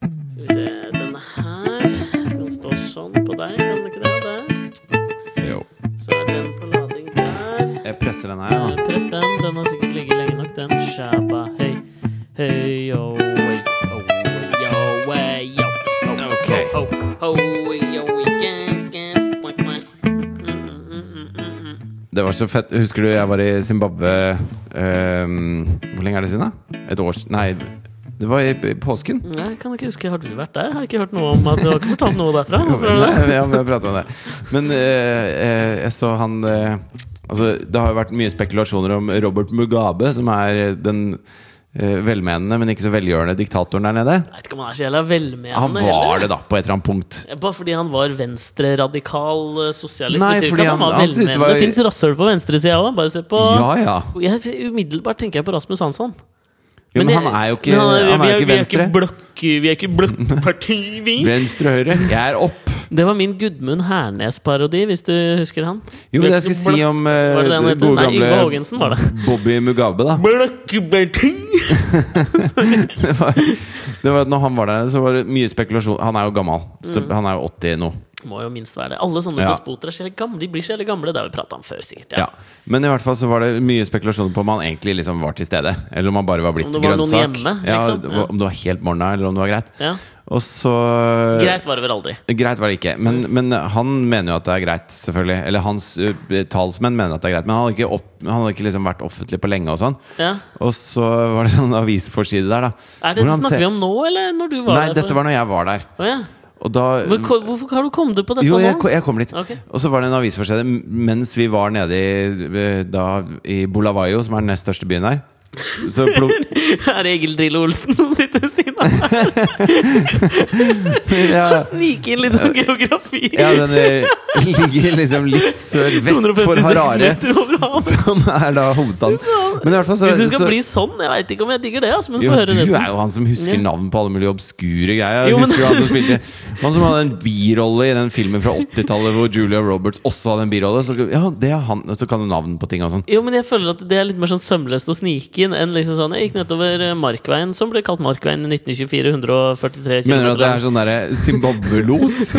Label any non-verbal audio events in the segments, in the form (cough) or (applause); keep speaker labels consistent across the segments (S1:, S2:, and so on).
S1: Skal vi se Den her kan stå sånn på deg, kan den ikke det? Der.
S2: Jo.
S1: Så er den på lading der.
S2: Jeg presser den her, da.
S1: Press den. Den har sikkert ligget lenge nok, den. Shabba høy. Høy yo, way, ho, yo, way, yo. Ho,
S2: Ok.
S1: Ho, ho, ho, yo, way, gang, gang, quack, quack. Mm, mm, mm, mm, mm.
S2: Det var så fett. Husker du jeg var i Zimbabwe ehm, Hvor lenge er det siden, da? Et års Nei, det var i, i påsken.
S1: Nei, Jeg kan ikke huske, Har du vært der? Har jeg ikke hørt noe om at Du har ikke fortalt noe derfra? Hvorfor
S2: Nei,
S1: har du det?
S2: (laughs) ja, men eh, jeg prater om det. Men eh, eh, jeg så han eh, Altså, det har jo vært mye spekulasjoner om Robert Mugabe, som er den eh, velmenende, men ikke så velgjørende diktatoren der nede.
S1: Jeg vet ikke om han er så jævla velmenende.
S2: Han
S1: heller.
S2: var det, da, på et eller annet punkt.
S1: Bare fordi han var venstreradikal eh, sosialist?
S2: Nei,
S1: betyr ikke
S2: fordi
S1: at han,
S2: han-
S1: var
S2: han syntes det
S1: velmenende.
S2: var-
S1: Det fins rasshøl på venstresida òg. Bare se på
S2: Ja, ja.
S1: jeg, Umiddelbart tenker jeg på Rasmus Hansson.
S2: Jo, men,
S1: jeg-
S2: han er jo ikke,
S1: men
S2: han
S1: vi
S2: er jo ikke venstre.
S1: Vi er ikke blokk- vi er ikke blokkparti,
S2: (laughs)
S1: vi.
S2: Venstre høyre. Jeg er opp.
S1: Det var min Gudmund Hernes-parodi, hvis du husker han.
S2: Jo, men jeg skulle si om eh,
S1: Var det det han
S2: det
S1: heter?
S2: gode
S1: Nei, Yngve Haagensen var
S2: (laughs) gamle
S1: det.
S2: Bobby Mugabe, da.
S1: Blokkparti!
S2: Det var, det var at når han var der, så var det mye spekulasjon. Han er jo gammel. Så
S1: Mm.
S2: han er jo 80 nå.
S1: Må jo minst være det. Alle sånne
S2: Ja.
S1: despoter er så jævlig gamle. De blir så jævlig gamle. Det har vi prata om før, sikkert.
S2: Ja. Men i hvert fall så var det mye spekulasjoner på om han egentlig liksom var til stede. Eller om han bare var blitt
S1: Om det
S2: grønnsak.
S1: var noen hjemme,
S2: ja,
S1: liksom. Ja.
S2: Om det var helt morna, eller om det var greit.
S1: Ja.
S2: Og så
S1: Greit Mm. var det vel aldri.
S2: Greit var det ikke. Men, men han mener jo at det er greit, selvfølgelig. Eller hans ø, talsmenn mener at det er greit. Men han hadde ikke, opp, han hadde ikke liksom vært offentlig på lenge og sånn.
S1: Ja.
S2: Og så var det sånn avisforside der, da.
S1: Er det, snakker vi om nå, eller når du var
S2: Nei,
S1: der?
S2: dette var når jeg var der.
S1: Å, ja.
S2: Og da
S1: Hvor, hvorfor har du kommet på dette
S2: jo,
S1: nå?
S2: jeg, ko- jeg kom litt.
S1: Ok.
S2: Og så var det en avisforside m- mens vi var nede i, eh, da, i Bulawayo, som er den nest største byen her. Så, plo,
S1: (laughs) (laughs) Er det Egil Drillo Olsen som sitter ved siden av deg?
S2: (laughs) ja,
S1: Snik inn litt om geografi!
S2: ja, den eh, ligger liksom litt
S1: (laughs)
S2: sør-vest for
S1: 256
S2: Harare,
S1: meter over havet!
S2: som er da hovedstaden. Men i hvert fall så,
S1: Hvis du skal
S2: så
S1: bli sånn Jeg veit ikke om jeg digger det, altså, men
S2: jo,
S1: få høre
S2: du
S1: resten.
S2: er jo han som husker
S1: Ja.
S2: navn på alle mulige obskure greier.
S1: Jo, men-
S2: Husker du han som spilte Han som hadde en birolle i den filmen fra 80-tallet hvor Julia Roberts også hadde en birolle. Så, ja, det er han, så kan du navn på ting og sånn.
S1: Jo, men jeg føler at det er litt mer sånn sømløst å snike inn enn liksom sånn Jeg gikk nedover eh, Markveien, som ble kalt Markveien i 1924. 143 km.
S2: Mener du at det
S1: (laughs)
S2: er sånn derre Zimbabwe-los?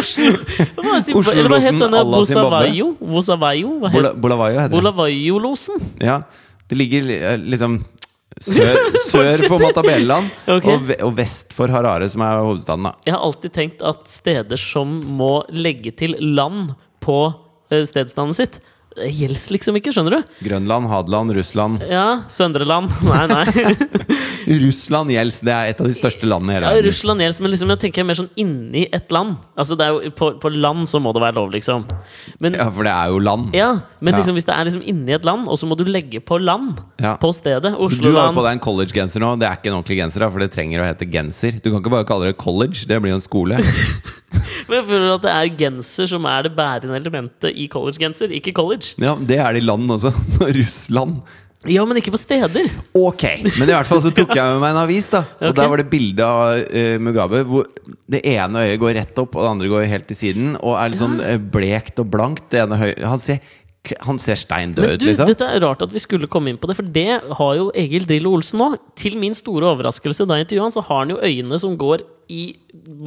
S1: Oslo-losen Eller hva het
S2: Oslo-losen
S1: denne?
S2: à la Zimbabwe?
S1: Bosavayo? Bosavayo? Hva het
S2: Bola- Bulawayo heter det.
S1: Bolavayo-losen?
S2: Ja, det ligger li- eh, liksom
S1: (laughs)
S2: sør, sør for Matabeleland
S1: Ok.
S2: og, ve og vest for Harare, som er hovedstaden. da
S1: Jeg har alltid tenkt at steder som må legge til land på eh, stedsnavnet sitt, det gjelder liksom ikke, skjønner du?
S2: Grønland, Hadeland, Russland.
S1: Ja, Søndreland. (laughs) Nei, nei.
S2: Russland gjelds, det er et av de største landene i hele
S1: Ja,
S2: verden.
S1: Russland gjelder, men liksom, jeg tenker mer sånn inni et land. Altså, det er jo, på, på land så må det være lov, liksom. Men,
S2: Ja, for det er jo land.
S1: ja, men
S2: Ja.
S1: liksom, hvis det er liksom inni et land, og så må du legge på land
S2: Ja.
S1: på stedet
S2: Så Du har jo
S1: Oslo-land.
S2: på deg en collegegenser nå. Det er ikke en ordentlig genser, da, for det trenger å hete genser. Du kan ikke bare kalle det college, det blir jo en skole.
S1: (laughs) Men jeg føler at det er genser som er det bærende elementet i collegegenser, ikke college.
S2: Ja, Det er det i land også. (laughs) Russland.
S1: Ja, men ikke på steder.
S2: Ok, men i hvert fall så tok jeg med meg en avis da Og
S1: Ok.
S2: der var det bilde av eh, Mugabe Hvor det ene øyet går rett opp Og det andre går helt til siden Og er litt sånn eh, blekt og blankt Det ene høy- han, ser, k- han ser steindød
S1: Men du,
S2: liksom
S1: dette er rart at vi skulle komme inn på det, for det har jo Egil Drillo Olsen nå. Til min store overraskelse da jeg intervjuet han, så har han jo øyne som går i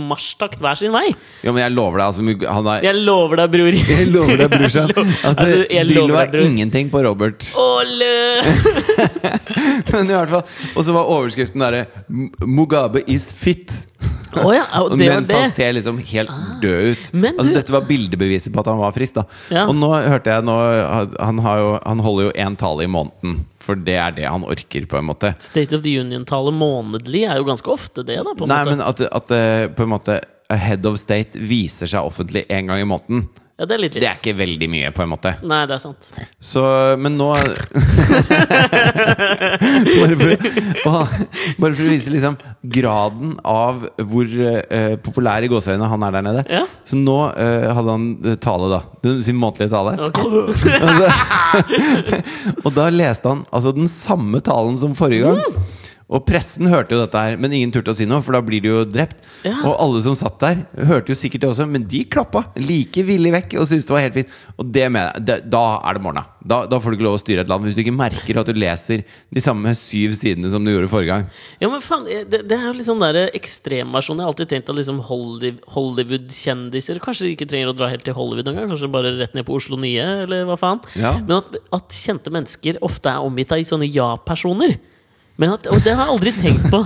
S1: marsjtakt hver sin vei.
S2: Jo, men jeg lover deg altså, Mug- han er,
S1: Jeg lover deg, bror.
S2: (laughs) Jeg lover deg,
S1: (laughs)
S2: brorsan
S1: Jeg lo-
S2: At
S1: altså,
S2: det
S1: jeg
S2: Drillo
S1: lover deg,
S2: er
S1: bror.
S2: ingenting på Robert (laughs)
S1: Ole!
S2: Men i hvert fall Og så var overskriften der Mugabe is fit
S1: Å ja, og det var
S2: Mens han
S1: det. Ah.
S2: ser liksom helt død ut.
S1: Men
S2: altså,
S1: du-
S2: dette var bildebeviset på at han var frisk. Da.
S1: Ja.
S2: Og nå hørte jeg nå, han, har jo, han holder jo én tale i måneden, for det er det han orker, på en måte.
S1: State of the Union-tallet månedlig er jo ganske ofte det, da. på en
S2: Nei,
S1: måte.
S2: men at, at eh, på en måte a head of state viser seg offentlig én gang i måneden.
S1: Ja, det er litt
S2: Det
S1: litt.
S2: er ikke veldig mye, på en måte.
S1: Nei, det er
S2: (laughs)
S1: sant.
S2: Så, men nå (laughs) bare, for, å- bare for å vise liksom graden av hvor eh, populær i gåseøynene han er der nede.
S1: Ja.
S2: Så nå eh, hadde han eh, tale, da. Den- Sin månedlige tale.
S1: Ok. (laughs)
S2: Og da leste han altså den samme talen som forrige gang. Og pressen hørte jo dette her, men ingen turte å si noe, for da blir de jo drept.
S1: Ja.
S2: Og alle som satt der, hørte jo sikkert det også, men de klappa like villig vekk og syntes det var helt fint. Og det mener jeg, det- da er det morgena. Da, da får du ikke lov å styre et land hvis du ikke merker at du leser de samme syv sidene som du gjorde forrige gang. (laughs)
S1: Ja, men faen, eh, det, det er jo litt sånn der ekstremversjon. Jeg har alltid tenkt at liksom Holly- Hollywood-kjendiser Kanskje de ikke trenger å dra helt til Hollywood engang. Kanskje bare rett ned på Oslo Nye, eller hva faen.
S2: Ja.
S1: Men at, at kjente mennesker ofte er omgitt av sånne ja-personer. Men at, og det har jeg aldri tenkt
S2: (laughs)
S1: på.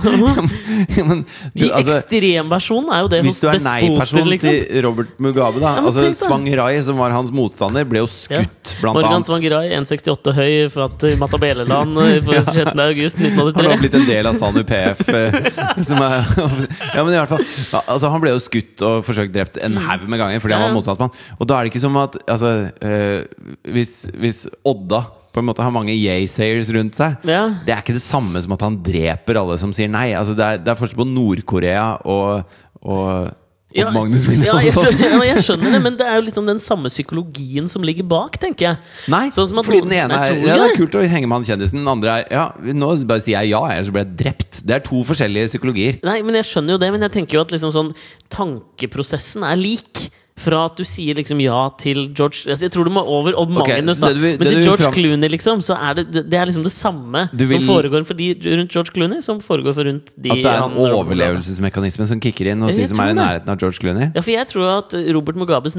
S1: (laughs)
S2: men,
S1: I
S2: du, altså,
S1: ekstremversjonen er jo det liksom.
S2: hvis du er nei-person til Robert Mugabe, da.
S1: Ja, men
S2: altså,
S1: tenk da.
S2: Svang Rai, som var hans motstander, ble jo skutt, blant
S1: Morgan
S2: annet.
S1: Svangerai, 168 høy, født i Matabeleland
S2: (laughs)
S1: eh, på 16. august
S2: Han har
S1: 1983.
S2: blitt en del av Sanu PF.
S1: (laughs)
S2: eh, Som er, ja, men i hvert fall ja, altså, Han ble jo skutt og forsøkt drept en haug med ganger fordi han var
S1: Mm. Ja.
S2: motstandsmann. Og da er det ikke som at altså, eh, hvis, hvis Odda på en måte har mange yay-sayers rundt seg,
S1: Ja.
S2: det er ikke det samme som at han dreper alle som sier nei. Altså, det, er, det er forskjell på Nord-Korea og, og, og Magnus Wilhelmsen.
S1: ja, jeg, skjønner, ja, jeg skjønner det, men det er jo liksom den samme psykologien som ligger bak, tenker jeg.
S2: (laughs) Nei,
S1: Sånn som at
S2: fordi
S1: noen-
S2: den ene
S1: Nei,
S2: er
S1: tror du
S2: ja, Det
S1: ikke
S2: er kult å henge med han kjendisen. Den andre er ja, nå bare sier jeg ja, ellers blir jeg drept. Det er to forskjellige psykologier.
S1: Nei, men jeg skjønner jo det, men jeg tenker jo at liksom sånn tankeprosessen er lik. Fra at du sier liksom ja til George altså Jeg tror du må over Odd
S2: Ok,
S1: Magnus,
S2: så
S1: da.
S2: det du vil-
S1: men
S2: det du
S1: til
S2: vil
S1: George
S2: fram-
S1: Clooney, liksom, så er det, det- det er liksom det samme
S2: Du vil-
S1: som foregår for de rundt George Clooney, som foregår for rundt de
S2: At det er
S1: han-
S2: en overlevelsesmekanisme som kicker inn hos
S1: Ja,
S2: de
S1: jeg
S2: som er i
S1: tror det.
S2: nærheten av George Clooney?
S1: Ja, for jeg tror at Robert Mugabes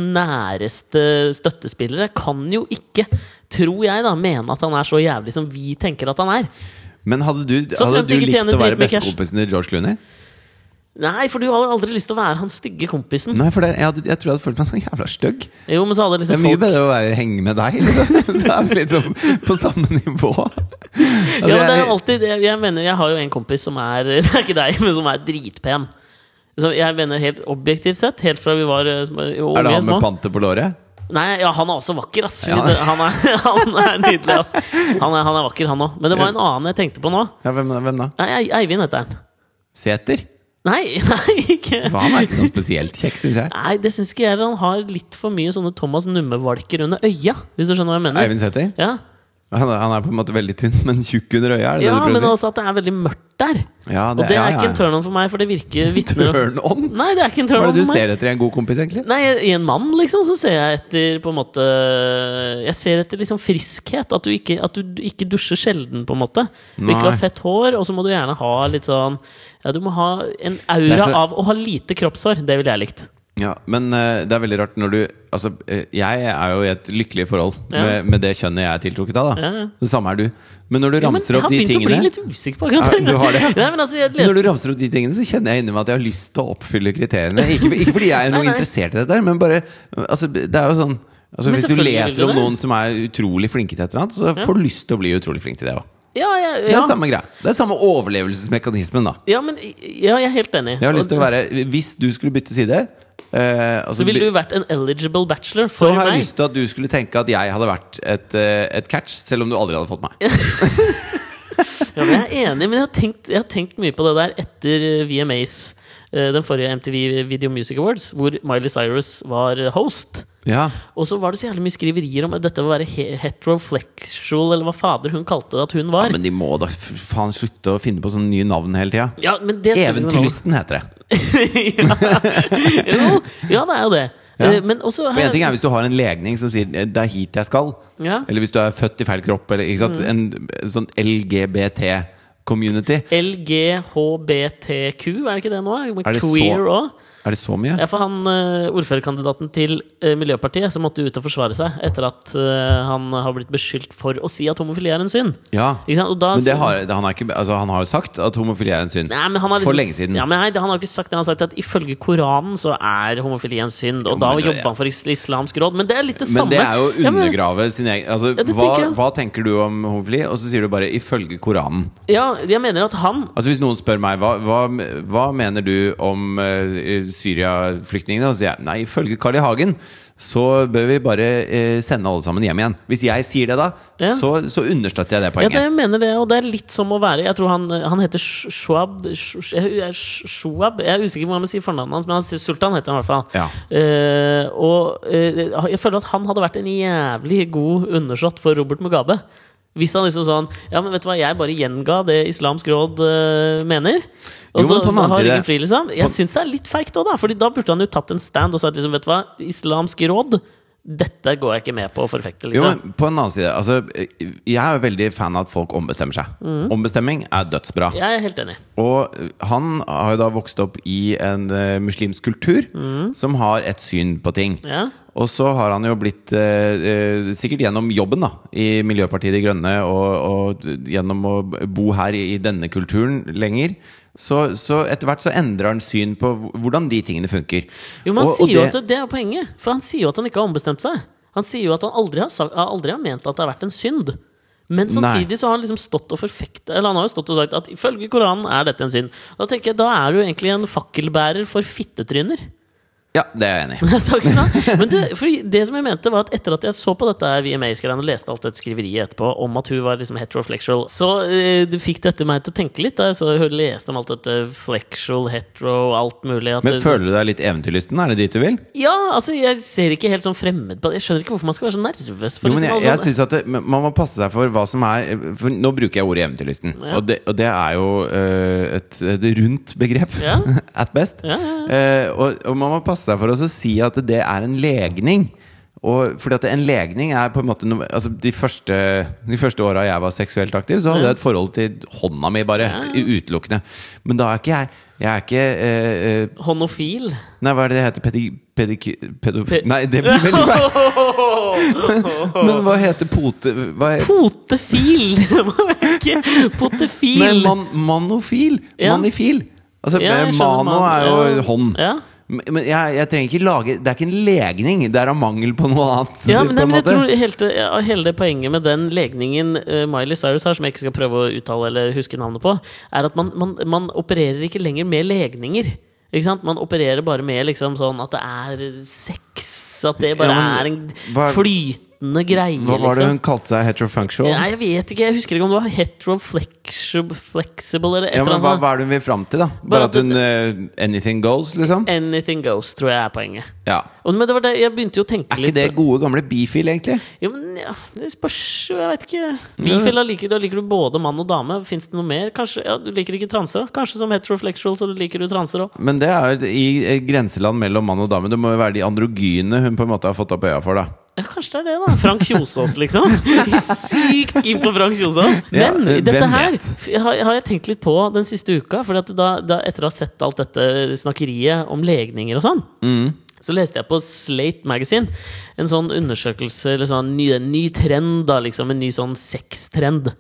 S1: næreste støttespillere kan jo ikke, tror jeg, da, mene at han er så jævlig som vi tenker at han er.
S2: Men hadde du,
S1: Så
S2: hadde
S1: frem
S2: du
S1: til ikke
S2: likt
S1: tjener
S2: å være
S1: dritmye cash.
S2: bestekompisen til George Clooney?
S1: Nei, for du har jo aldri lyst til å være han stygge kompisen.
S2: Nei, for det, jeg, hadde, jeg tror jeg hadde følt meg så jævla stygg.
S1: Jo, men så hadde
S2: Det er
S1: liksom
S2: mye
S1: folk
S2: bedre å være, henge med deg. Liksom. (laughs) Så er vi liksom på samme nivå. Altså,
S1: ja, men det er jo
S2: jeg-
S1: alltid jeg, jeg mener, jeg har jo en kompis som er (laughs) Det er ikke deg, men som er dritpen. Så jeg mener helt objektivt sett, helt fra vi var eh, små- unge.
S2: er det han
S1: små.
S2: med panter på låret?
S1: Nei, ja, han er også vakker, ass.
S2: Ja.
S1: (laughs) Han, er, han er nydelig, ass. Han er, han er vakker, han òg. Men det var en annen jeg tenkte på nå.
S2: Ja, hvem, hvem da?
S1: Nei, Ei- Eivind heter han.
S2: Sæter?
S1: Nei, (laughs) nei, ikke
S2: For han er ikke sånn spesielt kjekk, syns jeg.
S1: Nei, det syns ikke jeg. Han har litt for mye sånne Thomas Numme-valker under øya, hvis du skjønner hva jeg mener.
S2: Eivind Sæter?
S1: Ja,
S2: Han, er- han er på en måte veldig tynn, men tjukk under øya? Er det
S1: ja
S2: det du
S1: men
S2: prøver å si?
S1: også at det er veldig mørkt der.
S2: Ja,
S1: Og det
S2: ja,
S1: er
S2: ja,
S1: ikke
S2: ja.
S1: en turn-on for meg, for det
S2: (laughs)
S1: virker vitner om
S2: Turn on?
S1: Nei, det er ikke en
S2: Hva
S1: turn-on
S2: er det du
S1: for meg.
S2: ser etter i en god kompis, egentlig?
S1: Nei, I en mann, liksom, så ser jeg etter på en måte Jeg ser etter liksom friskhet. At du ikke, at du ikke dusjer sjelden, på en måte. Du
S2: Nei.
S1: ikke har fett hår, og så må du gjerne ha litt sånn Ja, du må ha en
S2: Det er
S1: aura
S2: så-
S1: av å ha lite kroppshår. Det ville jeg likt.
S2: Ja, Men eh, det er veldig rart når du Altså, eh, jeg er jo i et lykkelig forhold
S1: Ja.
S2: med, med det kjønnet jeg er tiltrukket av. da
S1: Ja, ja.
S2: Det samme er du. Men når du
S1: Jo, men
S2: ramser
S1: jeg
S2: opp
S1: har
S2: de
S1: begynt å
S2: tingene
S1: bli litt usikker på akkurat
S2: Ja, du har det, ja.
S1: (laughs) Nei, men altså, jeg leste
S2: Når du ramser opp de tingene, så kjenner jeg inni meg at jeg har lyst til å oppfylle kriteriene. Ikke, ikke fordi jeg er noe
S1: Nei, nei.
S2: interessert i dette, her, men bare Altså, det er jo sånn Altså,
S1: Men
S2: hvis du
S1: selvfølgelig
S2: leser
S1: vil du
S2: om
S1: det.
S2: noen som er utrolig flinke til et eller annet, så får du lyst til å bli utrolig flink til det òg.
S1: Ja, ja,
S2: Det er
S1: ja.
S2: samme greia. Det er samme overlevelsesmekanismen, da.
S1: ja, men ja, jeg er helt enig.
S2: Jeg har lyst til å
S1: Og-
S2: være Hvis du skulle bytte side eh, altså,
S1: Så ville du vært en eligible bachelor
S2: så
S1: for
S2: har jeg
S1: meg.
S2: lyst til at du skulle tenke at jeg hadde vært et, eh, et catch, selv om du aldri hadde fått (laughs) meg.
S1: Ja, men jeg er enig, men jeg har, tenkt, jeg har tenkt mye på det der etter eh, VMAs. eh, Den forrige MTV Video Music Awards, hvor Miley Cyrus var host.
S2: Ja,
S1: Og så var det så jævlig mye skriverier om at dette var å være he- heteroflexual, eller hva fader hun kalte det at hun var.
S2: Men de må da f- faen slutte å finne på sånne nye navn hele tida.
S1: Ja, men det spiller ingen rolle. (laughs)
S2: Eventyrlysten heter det.
S1: jo, ja, det er jo det.
S2: Ja.
S1: Eh, Men også
S2: For en ting er hvis du har en legning som sier eh, 'det er hit jeg skal',
S1: Ja.
S2: eller hvis du er født i feil kropp, eller ikke sant? en sånn LGBT-community.
S1: LGHBTQ, er det ikke det nå?
S2: Er
S1: Med
S2: det så-
S1: queer òg?
S2: Er det så mye?
S1: Ja, for han eh, ordførerkandidaten til eh, Miljøpartiet som måtte ut og forsvare seg etter at eh, han har blitt beskyldt for å si at homofili er en synd.
S2: Ja.
S1: Ikke sant? Og da,
S2: Men det har, det, han, er ikke, altså, han har jo sagt at homofili er en synd.
S1: Nei, men han har liksom,
S2: For lenge siden.
S1: Ja, men nei, Han har ikke sagt det. Han har sagt at ifølge Koranen så er homofili en synd. Og
S2: Jo,
S1: da
S2: men det-
S1: jobber han for is Islamsk råd. Men det er litt det
S2: Men
S1: samme.
S2: det er jo å
S1: Ja, men-
S2: undergrave sin egen altså,
S1: Ja, det
S2: hva,
S1: tenker jeg.
S2: hva tenker du om homofili? Og så sier du bare 'ifølge Koranen'.
S1: Ja, jeg mener at han
S2: Altså Hvis noen spør meg hva, hva, hva mener du om uh, Syria-flyktningene, og så sier jeg nei, ifølge Carl I. Hagen så bør vi bare eh, sende alle sammen hjem igjen. Hvis jeg sier det, da,
S1: Ja.
S2: så, så understøtter jeg det
S1: Ja,
S2: poenget.
S1: det jeg mener det, og det er litt som å være Jeg tror han, han heter Sh- Shoab Sh- jeg- jeg- Shoab Jeg er usikker på hva man sier fornavnet hans, men han sier Sultan heter han i hvert fall.
S2: Ja.
S1: Eh, og eh, jeg føler at han hadde vært en jævlig god undersått for Robert Mugabe. Hvis han liksom sånn Ja, men vet du hva, jeg bare gjenga det Islamsk råd eh, mener. Og
S2: Jo,
S1: så
S2: men på den andre
S1: har
S2: side-
S1: ingen fri, liksom. Jeg syns det er litt feigt òg, da. Fordi da burde han jo tatt en stand og sagt liksom, vet du hva, Islamsk råd, dette går jeg ikke med på å forfekte,
S2: Jo,
S1: liksom.
S2: men på en annen side altså, Jeg er jo veldig fan av at folk ombestemmer seg.
S1: Mm.
S2: Ombestemming er dødsbra.
S1: Jeg er helt enig.
S2: Og han har jo da vokst opp i en eh, muslimsk kultur
S1: Mm.
S2: som har et syn på ting.
S1: Ja.
S2: Og så har han jo blitt, eh, eh, sikkert gjennom jobben da, i Miljøpartiet De Grønne, og, og gjennom å bo her i, i denne kulturen lenger, så, så etter hvert så endrer han syn på hv- hvordan de tingene funker.
S1: Jo, men han
S2: Og- og
S1: sier jo
S2: det-
S1: at det, det er poenget. For han sier jo at han ikke har ombestemt seg. Han sier jo at han aldri har, sagt, aldri har ment at det har vært en synd. Men
S2: Nei.
S1: samtidig så har han liksom stått og forfekta Eller han har jo stått og sagt at ifølge Koranen er dette en synd. Og da tenker jeg, da er du egentlig en fakkelbærer for fittetryner. (laughs)
S2: Ja, det er jeg enig i.
S1: Takk skal du ha. Men du, fordi det som jeg mente var at etter at jeg så på dette her VMA-greiene og leste alt dette skriveriet etterpå om at hun var liksom heteroflexual, så eh, det fikk dette meg til å tenke litt da jeg så hun leste om alt dette flexual, hetero, alt mulig. At
S2: Men
S1: det-
S2: føler du deg litt eventyrlysten? Er det dit du vil?
S1: ja, altså jeg ser ikke helt sånn fremmed på det. Jeg skjønner ikke hvorfor man skal være så nervøs. For
S2: Jo, men jeg,
S1: liksom,
S2: jeg
S1: altså-
S2: synes at det, men Man må passe seg for hva som er for Nå bruker jeg ordet eventyrlysten,
S1: Ja.
S2: og, det, og det er jo eh, et, et rundt begrep.
S1: Ja.
S2: (laughs) at best.
S1: Ja, ja,
S2: Eh, og, og man må passe seg for å så si at det er en legning. Og fordi at en legning er på en måte noe, altså De første, de første åra jeg var seksuelt aktiv, så hadde jeg et forhold til hånda mi, bare.
S1: Ja.
S2: Utelukkende. Men da er ikke jeg Jeg er ikke eh, eh,
S1: Honofil.
S2: Nei, hva er det det heter? Pedi... Pediki... Pedo...
S1: Pe-
S2: Nei, det blir
S1: (laughs)
S2: veldig feil. Men hva heter pote... Hva heter
S1: Potefil! (laughs) Ikke Potefil!
S2: Nei, man, manofil!
S1: Ja.
S2: Manifil! Altså,
S1: Ja, jeg skjønner,
S2: mano
S1: man-
S2: er jo
S1: ja.
S2: hånd.
S1: Ja.
S2: Men men jeg, jeg trenger ikke lage Det er ikke en legning, det er av mangel på noe annet.
S1: Ja, men,
S2: på
S1: nei, men
S2: en
S1: jeg
S2: måte.
S1: tror helt, ja, hele det poenget med den legningen eh, Miley Cyrus har, som jeg ikke skal prøve å uttale eller huske navnet på, er at man, man, man opererer ikke lenger med legninger. Ikke sant? Man opererer bare med liksom sånn at det er sex, at det bare
S2: Ja,
S1: er en
S2: men hva-
S1: flytende greie,
S2: Hva var det
S1: liksom.
S2: hun kalte seg? Heterofunctional?
S1: Nei, jeg vet ikke. Jeg husker ikke om det var heteroflexible eller et
S2: ja,
S1: eller
S2: men hva,
S1: annet.
S2: hva er det hun vil fram til, da?
S1: Bare
S2: Bare
S1: at
S2: at hun eh, Anything goes, liksom?
S1: Anything goes, tror jeg er poenget.
S2: Ja.
S1: Og, men det var det, jeg begynte jo å tenke
S2: Er
S1: litt
S2: ikke det gode, gamle bifil, egentlig?
S1: Jo, men ja, det spørs jo, jeg vet ikke. Bifil, da liker, da liker du både mann og dame. Fins det noe mer? Kanskje, ja, Du liker ikke transer, da? Kanskje som heteroflexual, så liker du transer òg.
S2: Men det er jo i eh, grenseland mellom mann og dame. Det må jo være de androgyne hun på en måte har fått opp øya for, da.
S1: Ja, kanskje det er det, da. Frank Kjosås, liksom. Sykt keen på Frank Kjosås.
S2: Ja,
S1: Men
S2: eh,
S1: dette
S2: hvem
S1: her
S2: vet?
S1: f- har, har jeg tenkt litt på den siste uka. For da, da, etter å ha sett alt dette snakkeriet om legninger og sånn,
S2: Mm.
S1: så leste jeg på Slate Magazine en sånn undersøkelse, eller sånn ny, en ny trend, da, liksom. En ny sånn sextrend.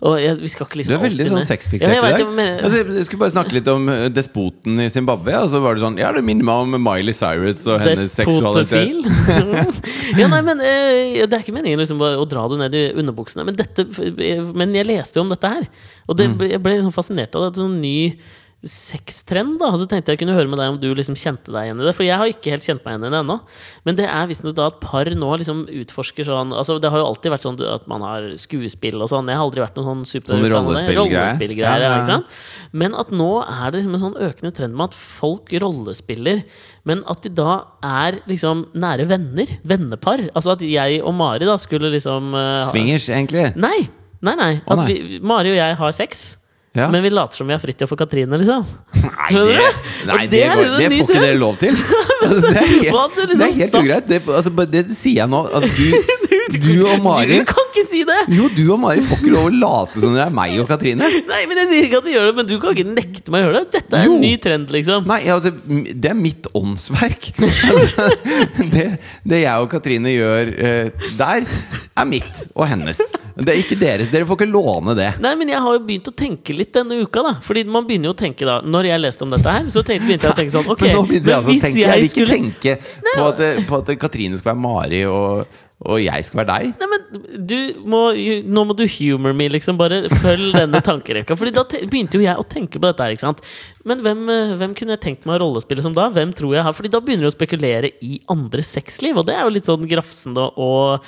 S1: Og jeg, vi skal ikke
S2: Du
S1: liksom
S2: er veldig
S1: alltid
S2: sånn
S1: ned-
S2: sexfiksert
S1: jeg
S2: i
S1: vet,
S2: dag.
S1: jeg mener-
S2: Altså, jeg skulle bare snakke litt om eh, despoten i Zimbabwe. Og så var det sånn Ja, det minner meg om Miley Cyrus og hennes seksualitet.
S1: Despotefil? (laughs) ja, nei, men eh, Det er ikke meningen liksom, å å dra det ned i underbuksene. Men, dette, eh, men jeg leste jo om dette her, og
S2: Mm.
S1: det, jeg ble liksom fascinert av det. Det er en Sånn ny sextrend. da, og Så tenkte jeg kunne høre med deg om du liksom kjente deg igjen i det. For jeg har ikke helt kjent meg igjen i det ennå. Men det er visstnok da at par nå liksom utforsker sånn altså Det har jo alltid vært sånn at man har skuespill og sånn. Jeg har aldri vært noen sånn superfan av det.
S2: rollespillgreier.
S1: Rollespillgreier.
S2: Ja,
S1: Ja,
S2: ja.
S1: ikke sant? Men at nå er det liksom en sånn økende trend med at folk rollespiller, men at de da er liksom nære venner. Vennepar. Altså at jeg og Mari da skulle liksom eh, ha-
S2: Swingers, egentlig.
S1: Nei! Nei, nei.
S2: Å,
S1: At
S2: nei.
S1: vi, Mari og jeg har sex.
S2: Ja.
S1: Men vi later som vi har Fridtjof og Katrine, liksom.
S2: Nei,
S1: Skjønner
S2: det,
S1: du?
S2: nei,
S1: Og
S2: det,
S1: er
S2: går,
S1: jo en
S2: det
S1: ny
S2: får ikke
S1: trend.
S2: dere lov
S1: (laughs)
S2: til. Altså, det er
S1: Hva
S2: helt,
S1: hadde du liksom
S2: det er helt
S1: sagt?
S2: ugreit. Det, altså, bare det sier jeg nå. Altså, du, du og Mari
S1: (laughs) Du kan ikke si det!
S2: Jo, du og Mari får ikke lov å late som dere er meg og Katrine.
S1: Nei, men Jeg sier ikke at vi gjør det, men du kan ikke nekte meg å gjøre det. Dette er
S2: Jo.
S1: en ny trend, liksom.
S2: Nei, altså, det er mitt åndsverk. (laughs) Altså, det, det jeg og Katrine gjør eh, der, er mitt og hennes. Det er ikke deres. Dere får ikke låne det.
S1: Nei, men jeg har jo begynt å tenke litt denne uka, da. Fordi man begynner jo å tenke da Når jeg leste om dette her, så tenkte, begynte jeg å tenke sånn Ok,
S2: (laughs) Men nå begynner jeg altså å
S1: hvis
S2: tenke. Jeg vil ikke
S1: skulle-
S2: tenke på at, eh, på at Katrine skal være Mari, og, og jeg skal være deg.
S1: Nei, men du må, jo- nå må du humor me, liksom. Bare følg denne tankerekka. Fordi da te begynte jo jeg å tenke på dette her, ikke sant. Men hvem, eh, hvem kunne jeg tenkt meg å rollespille som da? Hvem tror jeg har Fordi da begynner du å spekulere i andres sexliv, og det er jo litt sånn grafsende og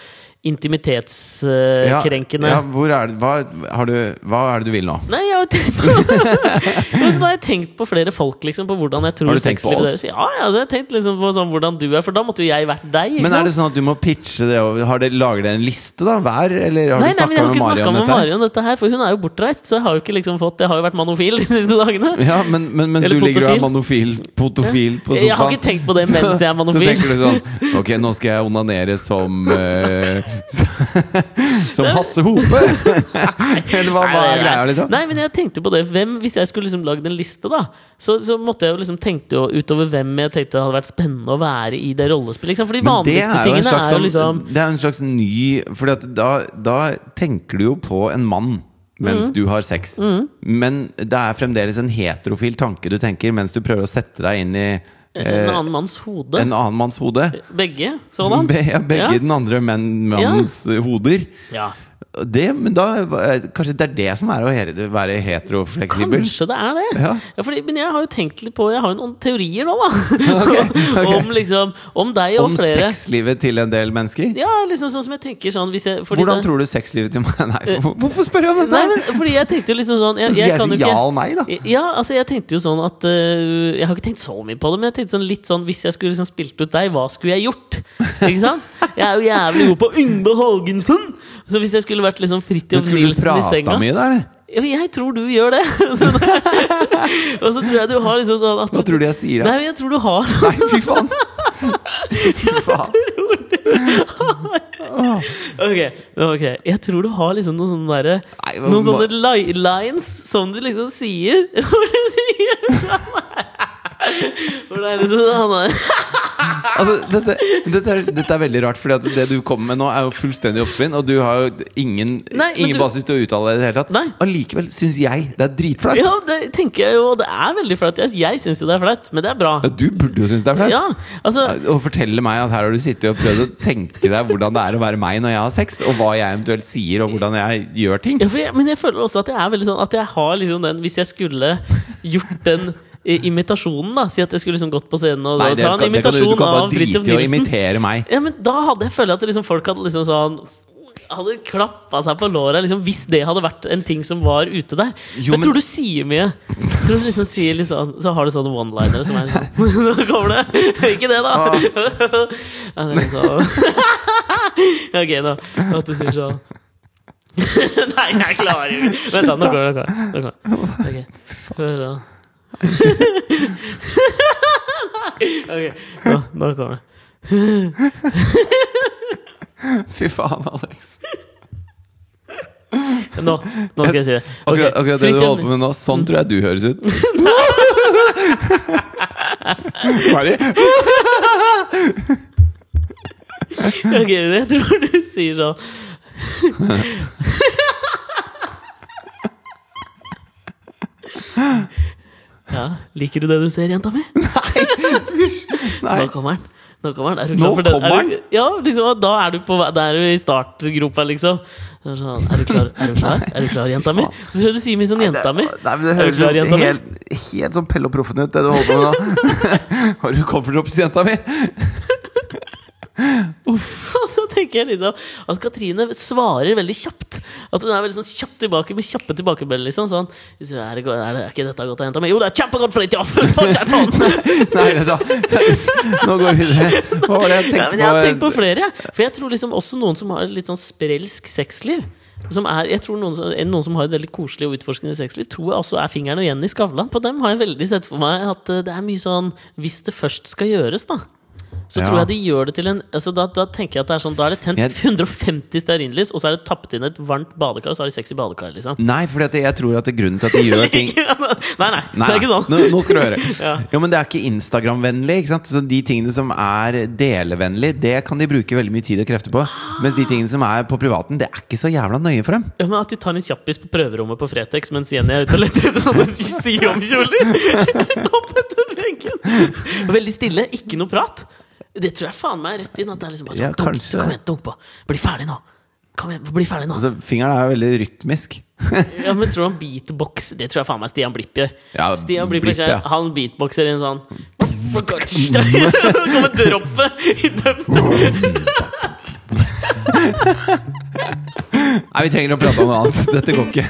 S2: Ja,
S1: intimitetskrenkende
S2: ja, hvor er det, hva, har du, hva er det du vil nå?
S1: Nei, jeg har jo tenkt på (laughs) Jo, så da har jeg tenkt på flere folk, liksom, på hvordan jeg tror
S2: Har du tenkt på
S1: sexlivet
S2: oss?
S1: deres- Ja, ja, jeg har tenkt liksom på sånn hvordan du er, for da måtte jo jeg vært deg. Ikke
S2: Men er
S1: sant?
S2: det sånn at du må pitche det? Og har det lager dere en liste da, hver? Eller har
S1: Nei,
S2: du
S1: nei, men jeg
S2: snakka
S1: har
S2: med
S1: ikke
S2: Mari
S1: snakka
S2: om
S1: med
S2: dette? her?
S1: Mari om dette her, for hun er jo bortreist. Så jeg har jo ikke liksom fått Jeg har jo vært manofil de siste dagene.
S2: Ja, men, men mens
S1: Eller
S2: du ligger og er
S1: potofil.
S2: manofil, potofil på sofaen
S1: Jeg har ikke tenkt på det mens jeg er
S2: (laughs) Så
S1: manofil.
S2: tenker du sånn Ok, nå skal jeg onanere som eh, (laughs) Som Hasse
S1: (laughs)
S2: Hope! Eller hva, hva
S1: Nei,
S2: er
S1: det
S2: greia, liksom?
S1: Nei, men jeg tenkte på det. Hvem, hvis jeg skulle liksom lagd en liste, da, så, så måtte jeg jo liksom tenke jo utover hvem jeg tenkte det hadde vært spennende å være i det rollespillet. Ikke sant? For de
S2: Men det
S1: vanligste
S2: er jo en
S1: tingene
S2: slags,
S1: er jo
S2: sånn-
S1: liksom
S2: det er jo en slags ny Fordi at da, da tenker du jo på en mann
S1: Mm.
S2: mens du har sex. Men det er fremdeles en heterofil tanke du tenker mens du prøver å sette deg inn i eh,
S1: en annen manns hode.
S2: en annen manns hode.
S1: Begge sådan.
S2: Be, (laughs) ja, begge
S1: Ja.
S2: den andre menn- mannens eh, hoder.
S1: Ja.
S2: Det, men da, eh, kanskje det er det som er å he- være heterofleksibel?
S1: Kanskje det er det.
S2: Ja.
S1: fordi, men jeg har jo tenkt litt på Jeg har jo noen teorier nå, da.
S2: (laughs)
S1: (laughs) om liksom Om deg og
S2: Om
S1: flere.
S2: sexlivet til en del mennesker?
S1: Ja, liksom sånn som jeg tenker sånn hvis jeg, fordi
S2: Hvordan
S1: det- Eh,
S2: tror du sexlivet til meg (laughs) Nei, hvor- hvorfor spør jeg om dette?
S1: Nei, men fordi jeg tenkte jo liksom sånn Jeg,
S2: Skal
S1: jeg
S2: Altså, jeg
S1: kan jo
S2: si
S1: ikke
S2: ja og nei, da?
S1: Ja, altså jeg tenkte jo sånn at øh, Jeg har ikke tenkt så mye på det, men jeg tenkte sånn litt sånn hvis jeg skulle liksom spilt ut deg, hva skulle jeg gjort? Ikke sant? Jeg er jo jævlig god på Yngve Haagensen! Så hvis jeg skulle vært liksom
S2: Men
S1: Fridtjof
S2: skulle du
S1: Nilsen i
S2: prata
S1: senga
S2: mye da, eller?
S1: Ja, men Jeg tror du gjør det! (laughs) Sånn. Og så tror jeg du har liksom sånn at
S2: Hva tror du jeg sier?
S1: Nei,
S2: da?
S1: men jeg tror du har
S2: Nei, fy
S1: (laughs)
S2: faen! Fy faen.
S1: Ok, ok Jeg tror du har liksom noen sånne derre
S2: Nei, men
S1: Noen
S2: hva-
S1: sånne li lines som du liksom sier (laughs) Hvor du sier Hvor det er liksom sånn han er-
S2: Altså, dette, dette, er, dette er veldig rart, Fordi at det du kommer med nå, er jo fullstendig oppspinn. Og du har jo ingen,
S1: Nei, men
S2: ingen
S1: du-
S2: basis til å uttale det i det hele tatt.
S1: Nei.
S2: Allikevel syns jeg det er dritflaut.
S1: Ja, det tenker jeg jo og Det er veldig flaut Jeg, jeg synes jo det er flaut Men det er bra
S2: Ja, Du burde jo synes det er flaut.
S1: Ja, altså
S2: Å fortelle meg at her har du sittet og prøvd å tenke deg hvordan det er å være meg når jeg har sex, og hva jeg eventuelt sier, og hvordan jeg gjør ting.
S1: ja, for jeg, Men jeg føler også at jeg er veldig sånn At jeg har liksom den Hvis jeg skulle gjort den eh, imitasjonen da Si at jeg skulle liksom gått på scenen Og
S2: Nei,
S1: da
S2: det,
S1: ta en
S2: kan, det kan du, du
S1: imitasjon
S2: kan bare
S1: av
S2: drite
S1: Fridtjof
S2: i å
S1: Nilsen
S2: imitere meg.
S1: Ja, men da hadde jeg følt at liksom folk hadde liksom sånn hadde klappa seg på låra liksom, hvis det hadde vært en ting som var ute der. For jeg
S2: Jo, men-
S1: tror du sier mye. Jeg tror du liksom sier litt sånn Så har du sånne one-linere som er sånn (laughs) Nå kommer det! Ikke det, da!
S2: Ah.
S1: (laughs) Ja, det er sånn. (laughs) Ok, da. At du sier sånn (laughs) Nei, jeg klarer ikke Vent, da. Nå kommer det. Nå kommer det. Ok. Hør da. (laughs) Ok, nå, nå kommer det.
S2: (laughs) Fy faen, Alex.
S1: Nå, nå skal jeg
S2: (laughs)
S1: si det. Ok,
S2: Akkurat, akkurat det du
S1: Fridtjof-
S2: holder på med nå, sånn tror jeg du høres ut. Mari?
S1: (laughs) Ok, jeg tror du sier sånn (laughs) Ja, liker du det du ser, jenta mi?
S2: Nei.
S1: Nå kommer den. Nå kommer den. Er du
S2: Nå
S1: klar for den?
S2: kommer
S1: Er du, ja, liksom, og da er du, på, vei- da er du i startgropa, liksom. Det Er, sånn, er, du klar, er du klar, Er du klar, jenta mi? Så hører du si mye sånn 'jenta mi'.
S2: Nei, men Det
S1: Er du
S2: høres
S1: klar,
S2: jo
S1: jenta mi?
S2: helt, helt sånn Pelle og Proffen ut, det du holder på med nå. (laughs) Har du cofferdrops, jenta mi?
S1: (laughs) Og så tenker jeg liksom at Katrine svarer veldig kjapt. At hun er veldig sånn kjapt tilbake med kjappe tilbakemeldinger. Liksom, sånn, hvis du, er, det, go- er, det, er ikke dette godt å hente med? Jo, det er kjempegodt for deg, ja! (laughs) Fortsett sånn!
S2: Nei, vet du hva. Nå går vi videre. Hva var det jeg
S1: Nei,
S2: tenkte
S1: men jeg har tenkt på flere. jeg. For jeg tror liksom også noen som har et litt sånn sprelsk sexliv. Som er, jeg tror noen, som- noen som har et veldig koselig og utforskende sexliv, tror jeg også er fingeren og Jenny Skavlan. På dem har jeg veldig sett for meg at eh, det er mye sånn Hvis det først skal gjøres, da. Så
S2: Ja.
S1: tror jeg de gjør det til en altså da, da tenker jeg at det er sånn Da er det tent
S2: Jeg-
S1: 150 stearinlys, og så er det tappet inn et varmt badekar, og så har de sex i badekar, liksom. (laughs)
S2: Nei, for jeg tror at det er grunnen til at de gjør ting
S1: nei, nei,
S2: Nei,
S1: det er ikke sånn.
S2: Nå, nå skal du høre.
S1: (laughs) Ja.
S2: Jo, men det er ikke Instagram-vennlig. ikke sant? Så De tingene som er delevennlig, det kan de bruke veldig mye tid og krefter på. Mens de tingene som er på privaten, det er ikke så jævla nøye for dem.
S1: Ja, men At de tar en kjappis på prøverommet på Fretex mens Jenny er ute og leter etter noen (laughs) syomkjoler! Oppetter benken! Veldig stille, ikke noe prat. Det tror jeg faen meg er rett inn. At det er liksom bare sånn,
S2: Ja,
S1: dunk,
S2: kanskje.
S1: Kom igjen, dunk på. Bli ferdig nå! Kom igjen, bli ferdig nå!
S2: Altså, Fingeren er jo veldig rytmisk.
S1: Ja, men tror du han beatboxer? Det tror jeg faen meg Stian Blipp gjør.
S2: Ja,
S1: Stian Blipp,
S2: Blipp,
S1: er kjær,
S2: ja.
S1: Han beatboxer i en sånn Så (laughs) kommer droppet i dubstep.
S2: Nei, vi trenger å prate om noe annet. (laughs) Dette går ikke.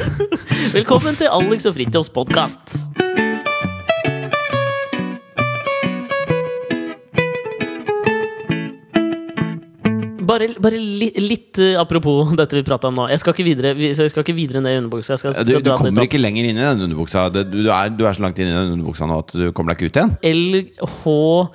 S1: Velkommen til Alex og Fritjofs podkast. Bare, bare li, litt eh, apropos dette vi prata om nå. Jeg skal ikke videre, vi- så jeg skal ikke videre ned i underbuksa. Jeg skal, skal
S2: Du, du
S1: dra den litt
S2: kommer
S1: opp.
S2: ikke lenger inn i den underbuksa. Det- Du, du, er, du er så langt inn i den underbuksa nå at du kommer deg ikke ut igjen.
S1: L, H,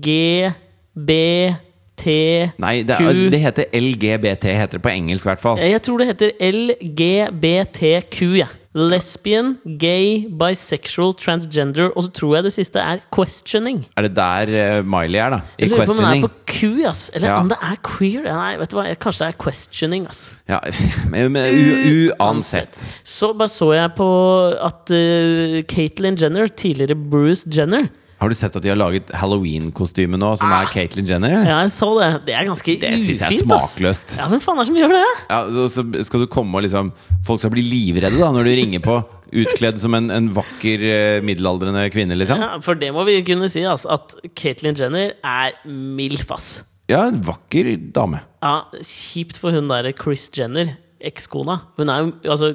S1: G, B, T
S2: Nei, det, er,
S1: Q.
S2: det heter LGBT, heter det på engelsk i hvert fall.
S1: Jeg tror det heter LGBTQ, jeg. Lesbian, gay, bisexual, transgender, og så tror jeg det siste er questioning.
S2: Er det der eh, Miley er, da? I
S1: Jeg lurer på om den
S2: questioning.
S1: er på Q, ass. Eller
S2: Ja.
S1: om det er queer. Nei, vet du hva, jeg- kanskje det er questioning, ass.
S2: Ja, (laughs) men, men u, uansett.
S1: Så bare så jeg på at uh, Caitlyn Jenner, tidligere Bruce Jenner
S2: Har du sett at de har laget halloween-kostyme nå, som er Caitlyn Jenner?
S1: Ah. Ja, jeg så det. Det er ganske
S2: Det syns jeg er
S1: ufint, ass.
S2: smakløst.
S1: Ja, hvem faen er det som gjør det?
S2: Ja, så- så skal du komme og liksom Folk skal bli livredde da når du ringer på utkledd som en, en vakker eh, middelaldrende kvinne, liksom.
S1: Ja, for det må vi kunne si, ass, at Caitlyn Jenner er milf, ass.
S2: Ja, en vakker dame.
S1: Ja, kjipt for hun der Chris Jenner, ekskona. Hun er jo, altså,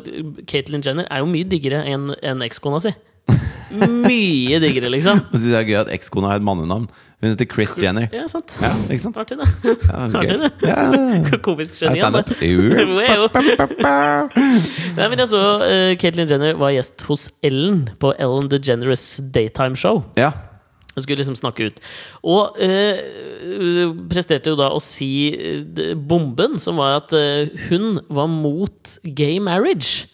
S1: Caitlyn Jenner er jo mye diggere enn enn ekskona
S2: (laughs)
S1: si. Mye diggere, liksom.
S2: Og så synes jeg det er gøy at ekskona er et mannenavn. Hun heter Chris Jenner.
S1: Ja, sant.
S2: Ja, ikke sant?
S1: Artig, det.
S2: Ja, det er gøy. Ja,
S1: (laughs) Komisk
S2: det er
S1: geni.
S2: standup.
S1: altså.
S2: Jo.
S1: Wow. Nei, men jeg så eh, Caitlyn Jenner var gjest hos Ellen på Ellen DeGeneres Daytime Show.
S2: (laughs) Ja.
S1: Hun skulle liksom snakke ut. Og eh, hun presterte jo da å si eh, d- bomben, som var at eh, hun var mot gay marriage.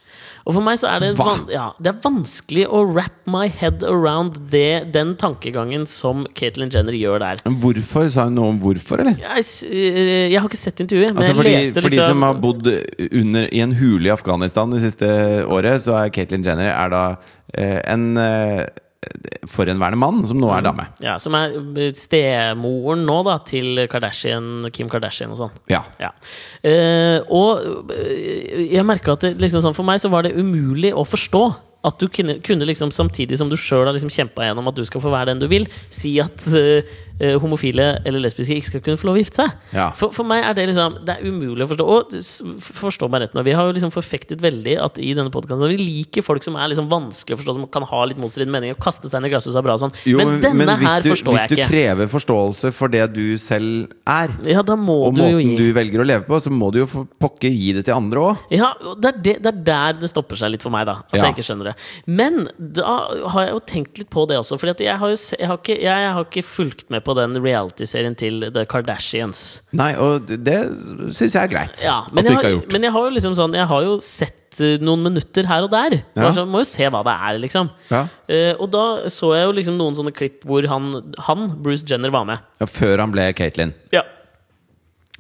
S1: Og for meg så er det,
S2: Hva?
S1: van ja, det er vanskelig å wrap my head around det, den tankegangen som Caitlyn Jenner gjør der.
S2: Men hvorfor? Sa hun noe om hvorfor, eller?
S1: Jeg, s- eh, jeg har ikke sett intervjuet, men
S2: Altså, for,
S1: jeg
S2: de,
S1: leste
S2: for de som
S1: liksom
S2: har bodd under, i en hule i Afghanistan det siste året, så er Caitlyn Jenner er da eh, en eh, forhenværende mann som
S1: Mm.
S2: nå er dame.
S1: ja, Som er eh, stemoren nå, da, til Kardashian, Kim Kardashian og sånn.
S2: Ja.
S1: Ja. Eh, og eh, jeg merka at det, liksom sånn, for meg så var det umulig å forstå. At du kunne, kunne liksom samtidig som du sjøl har liksom kjempa gjennom at du skal få være den du vil, si at eh, eh, homofile eller lesbiske ikke skal kunne få lov å gifte seg.
S2: Ja.
S1: For, for meg er det liksom Det er umulig å forstå. Og s- forstå meg rett nå, vi har jo liksom forfektet veldig at i denne podkasten vi liker folk som er liksom vanskelig å forstå, som kan ha litt motstridende meninger, og kaste stein i glasshuset er bra og sånn.
S2: Jo,
S1: men denne
S2: hvis
S1: her
S2: du,
S1: forstår jeg
S2: Hvis du
S1: ikke.
S2: krever forståelse for det du selv er,
S1: Ja, da må
S2: og
S1: du jo
S2: måten
S1: gi
S2: du velger å leve på, så må du jo for pokker gi det til andre òg.
S1: Ja, og det er, det, det er der det stopper seg litt for meg, da. At
S2: Ja.
S1: jeg ikke skjønner det. Men da har jeg jo tenkt litt på det også. For jeg, har jo se- jeg, har ikke- jeg har ikke fulgt med på den reality-serien til The Kardashians.
S2: Nei, og det- det syns jeg er greit.
S1: Ja,
S2: at
S1: men,
S2: du
S1: jeg
S2: ikke har
S1: har,
S2: gjort.
S1: men jeg har jo liksom sånn Jeg har jo sett eh, noen minutter her og der.
S2: Ja.
S1: Bare sånn, må jo se hva det er, liksom.
S2: Ja.
S1: Eh, og da så jeg jo liksom noen sånne klipp hvor han, han Bruce Jenner, var med.
S2: Ja, før han ble Caitlyn.
S1: Ja.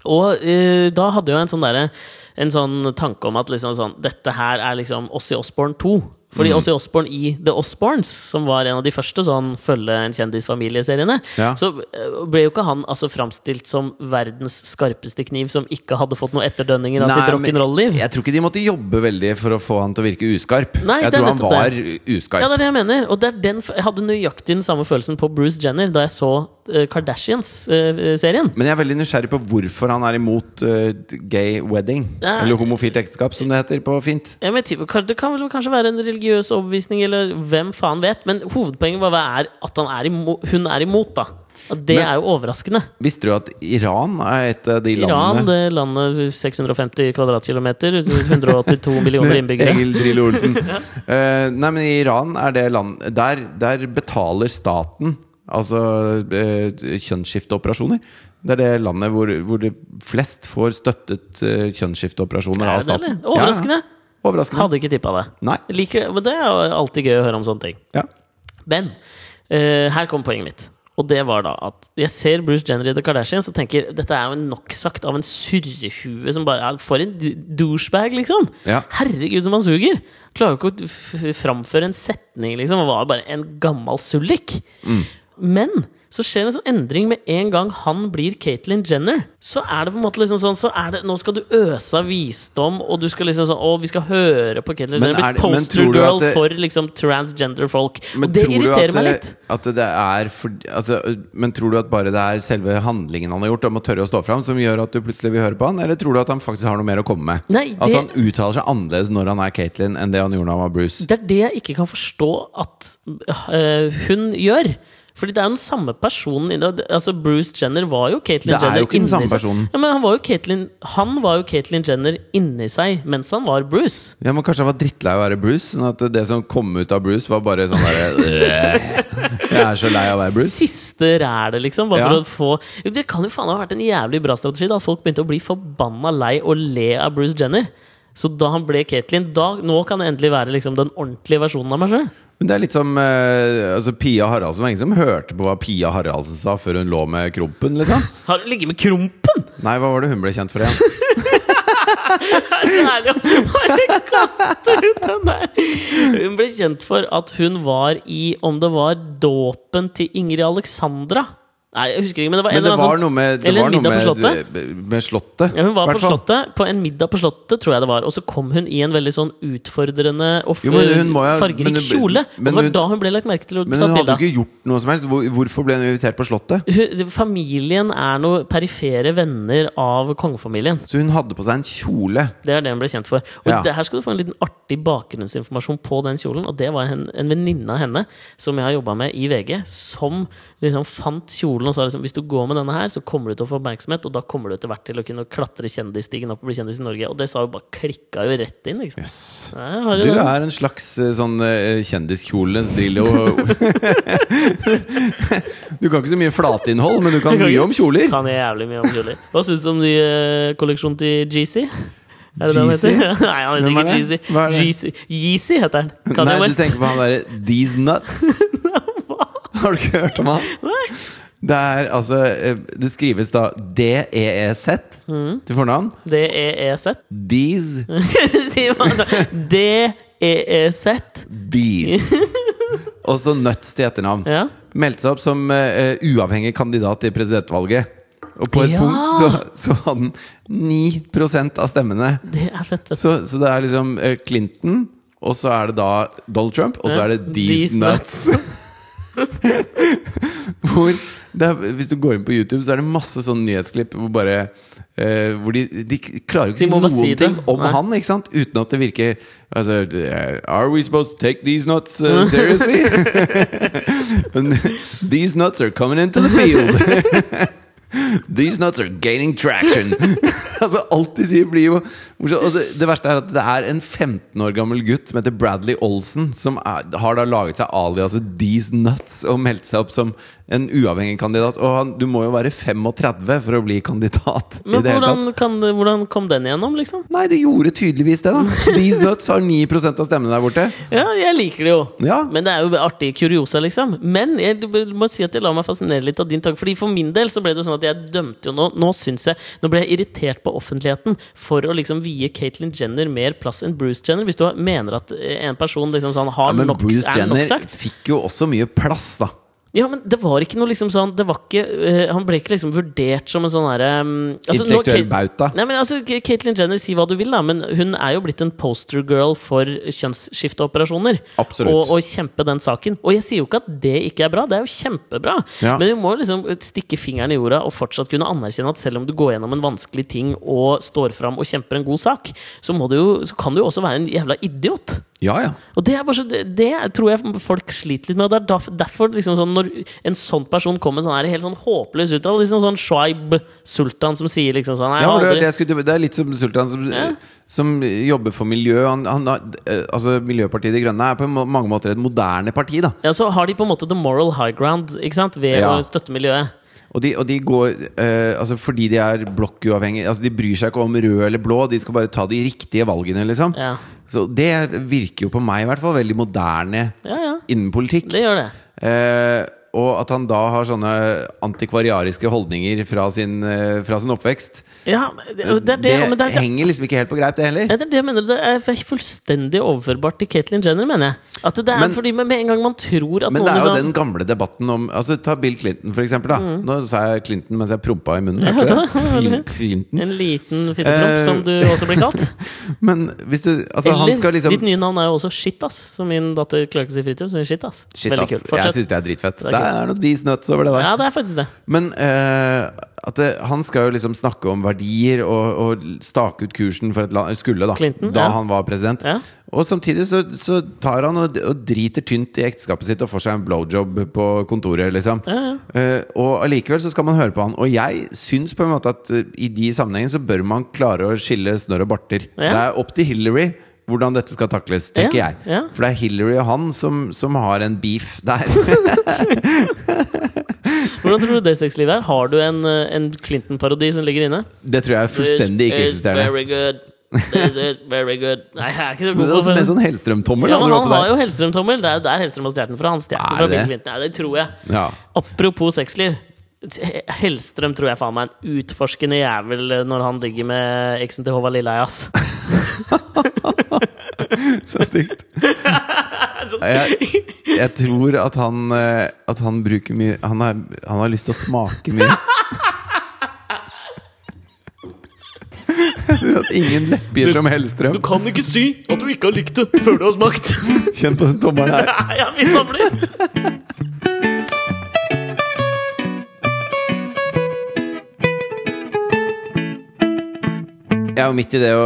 S1: Og eh, da hadde jeg en sånn, derre- en sånn tanke om at liksom sånn, dette her er liksom Ossi Osborn 2. Fordi
S2: Mm.
S1: Ossi Osborn i The Osborns, som var en av de første sånn følge en kjendisfamilie-seriene,
S2: Ja.
S1: så eh, ble jo ikke han altså framstilt som verdens skarpeste kniv som ikke hadde fått noe etterdønninger av sitt
S2: men
S1: rock'n'roll-liv.
S2: jeg tror ikke de måtte jobbe veldig for å få han til å virke uskarp.
S1: Nei,
S2: jeg
S1: det er
S2: tror han
S1: nettopp
S2: var
S1: det.
S2: uskarp.
S1: Ja, det er det jeg mener. Og det er den, f- jeg hadde nøyaktig den samme følelsen på Bruce Jenner da jeg så eh, Kardashians-serien.
S2: Men jeg er veldig nysgjerrig på hvorfor han er imot eh, gay wedding.
S1: Nei.
S2: Eller homofilt ekteskap, som det heter på fint.
S1: Ja, men jeg tipper- kan- Det kan vel kanskje være en religiøs overbevisning, eller hvem faen vet. Men hovedpoenget var hva er at han er imo- hun er imot, da. Og det
S2: Men-
S1: er jo overraskende.
S2: Visste du at Iran er et av de
S1: Iran,
S2: landene
S1: det landet 650 kvadratkilometer,
S2: (laughs)
S1: 182 millioner innbyggere.
S2: Egil Drillo Olsen.
S1: (laughs)
S2: Eh, nei, men i Iran er det land Der, der betaler staten altså eh, kjønnsskifteoperasjoner. Det er det landet hvor, hvor det flest får støttet eh, kjønnsskifteoperasjoner
S1: Er det
S2: av
S1: det,
S2: staten.
S1: eller? Overraskende.
S2: Ja, ja. Overraskende.
S1: Hadde ikke tippa det.
S2: Nei.
S1: Liker, men det er jo alltid gøy å høre om sånne ting.
S2: Ja.
S1: Men eh, her kom poenget mitt. Og det var da at jeg ser Bruce Jenner i The Kardashians og tenker dette er jo en nok sagt av en surrehue som bare er For en d- douchebag, liksom!
S2: Ja.
S1: Herregud, som han suger! Klarer jo ikke å
S2: Mm.
S1: f- framføre en setning, liksom. Han var jo bare en gammel sullik. Men så skjer det en sånn endring med en gang han blir Caitlyn Jenner. Så er det på en måte liksom sånn så er det, Nå skal du øse av visdom, og du skal liksom sånn Å, vi skal høre på Caitlyn
S2: Men
S1: Jenner.
S2: er
S1: Blitt
S2: det- men
S1: poster
S2: tror du
S1: girl
S2: at det-
S1: for liksom transgender-folk.
S2: Men
S1: Og det
S2: tror du
S1: irriterer
S2: at,
S1: meg litt.
S2: At det er for, altså, men tror du at bare det er selve handlingen han har gjort, om å tørre å stå fram, som gjør at du plutselig vil høre på han? Eller tror du at han faktisk har noe mer å komme med?
S1: Nei,
S2: At
S1: det-
S2: han uttaler seg annerledes når han er Caitlyn, enn det han gjorde da han var Bruce?
S1: Det er det jeg ikke kan forstå at øh, hun gjør. Fordi det er jo den samme personen inni det. Altså Bruce Jenner var jo Caitlyn
S2: Det er
S1: Jenner.
S2: jo ikke den
S1: inni
S2: samme
S1: seg.
S2: personen.
S1: Ja, men han var jo Caitlyn- han var jo Caitlyn Jenner inni seg mens han var Bruce.
S2: Ja, men Kanskje han var drittlei av å være Bruce? Sånn at det som kom ut av Bruce, var bare sånn (laughs) derre «Øh, Jeg er så lei av å være Bruce.
S1: Siste rælet, liksom. Bare
S2: Ja.
S1: for å få Det kan jo faen ha vært en jævlig bra strategi. Da folk begynte å bli forbanna lei og le av Bruce Jenner. Så da han ble Caitlyn da, Nå kan det endelig være liksom, den ordentlige versjonen av meg sjøl.
S2: Men det er litt som eh, altså Pia Haraldsen. Det var ingen som hørte på hva Pia Haraldsen sa før hun lå med Krompen, liksom.
S1: Har du ligget med Krompen?
S2: Nei, hva var det hun ble kjent for igjen?
S1: Det er herlig å bare kaste ut den der. Hun ble kjent for at hun var i Om det var dåpen til Ingrid Alexandra? Nei, jeg husker ikke, men det var en
S2: Men det
S1: eller annen
S2: var
S1: sånn-
S2: noe med det
S1: Eller
S2: var
S1: en
S2: noe
S1: middag på Slottet.
S2: med, med Slottet.
S1: Ja, hun var på
S2: hvertfall.
S1: slottet, på en middag på Slottet, tror jeg det var. Og så kom hun i en veldig sånn utfordrende og
S2: Jo, men hun må jo- men
S1: fargerik
S2: hun-
S1: kjole.
S2: men
S1: og det
S2: hun-
S1: var da hun ble lagt merke til. og
S2: Men
S1: tatt
S2: hun hadde
S1: bilde av.
S2: jo ikke gjort noe som helst. Hvor- Hvorfor ble hun invitert på Slottet?
S1: Hun- Familien er noe perifere venner av kongefamilien.
S2: Så hun hadde på seg en kjole.
S1: Det er det hun ble kjent for. Og
S2: Ja.
S1: det her skal du få en liten artig bakgrunnsinformasjon på den kjolen. Og det var en, en venninne av henne som jeg har jobba med i VG, som liksom fant kjolen og sa liksom hvis du går med denne her, så kommer du til å få oppmerksomhet, og da kommer du etter hvert til å kunne klatre kjendisstigen opp og bli kjendis i Norge. Og det sa jo bare klikka jo rett inn, ikke sant.
S2: Yes.
S1: Ja, jeg har
S2: Du
S1: jo den.
S2: er en slags eh, sånn eh, kjendiskjolenes Drillo. (laughs) Du kan ikke så mye flateinnhold, men du kan
S1: Jeg kan
S2: mye
S1: ikke-
S2: om kjoler.
S1: Kan jeg jævlig mye om kjoler. Hva syns du om ny eh, kolleksjon til GC? Er det det han
S2: Jeezy?
S1: heter? (laughs) Nei, han heter
S2: Hvem er
S1: ikke
S2: det?
S1: GC.
S2: Hva er det?
S1: GC. Yeezy heter han. Kanye
S2: Nei, du
S1: West.
S2: tenker på han derre These
S1: (laughs)
S2: Nuts. Har du ikke hørt om han?
S1: Nei.
S2: Det er altså eh, Det skrives da D-E-E-Z
S1: Mm.
S2: til fornavn.
S1: D-E-E-Z.
S2: These
S1: Sier man altså (laughs) D-E-E-Z. (laughs)
S2: Bees. Og så Nuts til etternavn.
S1: Ja.
S2: Meldte seg opp som eh, uavhengig kandidat i presidentvalget. Og på et
S1: Ja.
S2: punkt så, så hadde han 9 av stemmene.
S1: Det er fett, vet du.
S2: Så, så det er liksom eh, Clinton, og så er det da Donald Trump, og så er det These Nuts. Hvor det er, hvis du går inn på YouTube, så er det masse sånne nyhetsklipp hvor bare eh, Hvor de, de klarer jo ikke
S1: De må
S2: å si
S1: bare
S2: noen
S1: si det.
S2: ting om
S1: Nei.
S2: han, ikke sant? Uten at det virker altså, eh, Are we supposed to take these nuts
S1: (laughs)
S2: eh, seriously? (laughs) And these nuts are coming into the
S1: (laughs)
S2: field. These nuts are gaining traction. (laughs) altså, alt de sier, blir jo morsomt. Og det- det verste er at det er en 15 år gammel gutt som heter Bradley Olsen, som er, har da laget seg aliaset These Nuts og meldt seg opp som en uavhengig kandidat. Og han, du må jo være 35 for å bli kandidat. i
S1: Men
S2: det hele tatt.
S1: hvordan, kan, hvordan kom den igjennom, liksom?
S2: Nei, det gjorde tydeligvis det, da. These Nuts har 9 av stemmene der borte.
S1: Ja, jeg liker det jo.
S2: Ja.
S1: Men det er jo artig kuriosa, liksom. Men jeg må si at jeg lar meg fascinere litt av din tanke. Fordi For min del så ble det jo sånn at jeg dømte jo nå Nå synes jeg Nå ble jeg irritert på offentligheten for å liksom vie Caitlyn Jenner mer plass enn Bruce Jenner. Hvis du har- mener at eh, en person liksom sånn har
S2: Ja, men
S1: nok,
S2: Bruce
S1: er nok
S2: Jenner
S1: sagt
S2: fikk jo også mye plass, da.
S1: Ja, men det var ikke noe liksom sånn Det var ikke eh, Han ble ikke liksom vurdert som en sånn herre
S2: Intellektuell bauta.
S1: Nei, men altså, K- Caitlyn Jenner, si hva du vil, da, men hun er jo blitt en poster girl for kjønnsskifteoperasjoner.
S2: Absolutt.
S1: Og, og kjempe den saken. Og jeg sier jo ikke at det ikke er bra, det er jo kjempebra.
S2: Ja.
S1: Men du må liksom stikke fingeren i jorda og fortsatt kunne anerkjenne at selv om du går gjennom en vanskelig ting og står fram og kjemper en god sak, så, må du jo, så kan du jo også være en jævla idiot.
S2: Ja, ja.
S1: Og det, er bare så, det, det tror jeg folk sliter litt med. Og det er derf- derfor liksom sånn, når en sånn person kommer sånn her, helt sånn håpløs ut av liksom sånn Shaib Sultan som sier liksom sånn Nei,
S2: Ja,
S1: jeg har
S2: men det, er det,
S1: aldri
S2: jeg skulle, det er litt som Sultan som,
S1: Ja.
S2: som jobber for miljø. Han, han, har- eh, altså Miljøpartiet De Grønne er på må- mange måter et moderne parti. da
S1: ja, Så har de på en måte the moral high ground ikke sant? ved
S2: Ja.
S1: å støtte miljøet.
S2: Og de, og de går eh, altså fordi de er blokkuavhengige. Altså de bryr seg ikke om rød eller blå, de skal bare ta de riktige valgene. liksom
S1: Ja.
S2: Så det virker jo på meg i hvert fall veldig moderne
S1: Ja, ja.
S2: innen politikk.
S1: Det gjør det.
S2: Eh, og at han da har sånne antikvariariske holdninger fra sin, eh, fra sin oppvekst.
S1: Ja, men det, det, er det,
S2: det,
S1: men det, er-
S2: henger liksom ikke helt på greip, det heller.
S1: Nei, det er det jeg mener. Det er fullstendig overførbart til Caitlyn Jenner, mener jeg. At det er
S2: Men-
S1: fordi med med en gang man tror at
S2: Men
S1: noen
S2: det er jo
S1: liksom-
S2: den gamle debatten om altså, Ta Bill Clinton, for eksempel. Da.
S1: Mm.
S2: Nå sa jeg Clinton mens jeg prompa i munnen.
S1: Jeg
S2: hørte du
S1: hørte det.
S2: Clin- Clinton.
S1: En liten fittepromp,
S2: Eh,
S1: som du også blir kalt.
S2: Men hvis du Altså,
S1: Eller
S2: han skal liksom
S1: Ditt nye navn er jo også Shit, ass. Som min datter klarer ikke å si fritid. Så hun sier shit, ass.
S2: Shit,
S1: Veldig
S2: ass.
S1: kult.
S2: Jeg
S1: Fortsett.
S2: syns det er dritfett.
S1: er
S2: Det er, noe dis nuts over det der.
S1: Ja, det er faktisk det.
S2: Men eh, at det, han skal jo liksom snakke om verdier og, og stake ut kursen for et land Skulle, da.
S1: Clinton,
S2: da
S1: ja.
S2: han var president.
S1: Ja.
S2: Og samtidig så, så tar han og, og driter tynt i ekteskapet sitt og får seg en blowjob på kontoret, liksom. Eh, og allikevel så skal man høre på han. Og jeg syns på en måte at eh, i de sammenhengene så bør man klare å skille snørr og barter. Det
S1: Ja.
S2: er opp til Hillary. Hvordan dette skal takles, tenker
S1: Ja,
S2: jeg.
S1: ja.
S2: For det er Hillary og han som, som har en beef
S1: (laughs)
S2: der.
S1: Hvordan tror du det sexlivet er? Har du en, eh, en Clinton-parodi som ligger inne?
S2: Det tror jeg er fullstendig
S1: This is
S2: ikke-eksisterende.
S1: Very good. This is very good. Nei, jeg er ikke så
S2: Men
S1: god
S2: det er
S1: på
S2: også Med
S1: det.
S2: sånn Hellstrøm-tommel.
S1: Ja,
S2: da,
S1: men han
S2: når du er
S1: har
S2: på
S1: jo Hellstrøm-tommel. Det er jo der Hellstrøm har stjålet den fra. Han stjal den
S2: Er
S1: fra
S2: det
S1: Bill
S2: det?
S1: Clinton. Nei, det tror jeg.
S2: der. ja.
S1: Apropos sexliv. Hellstrøm tror jeg faen meg er en utforskende jævel eh, når han ligger med eksen til Håvard Lilleheie, ass.
S2: (laughs) Så stygt.
S1: (laughs)
S2: Jeg, jeg tror at han eh, At han bruker mye han, er, han har lyst til å smake mye. Jeg tror at ingen lepper som Hellstrøm
S1: Du kan ikke si at du ikke har likt det før du har smakt! (laughs)
S2: Kjenn på den tommelen her.
S1: Nei, jeg vil samle!
S2: Jeg er jo midt i det å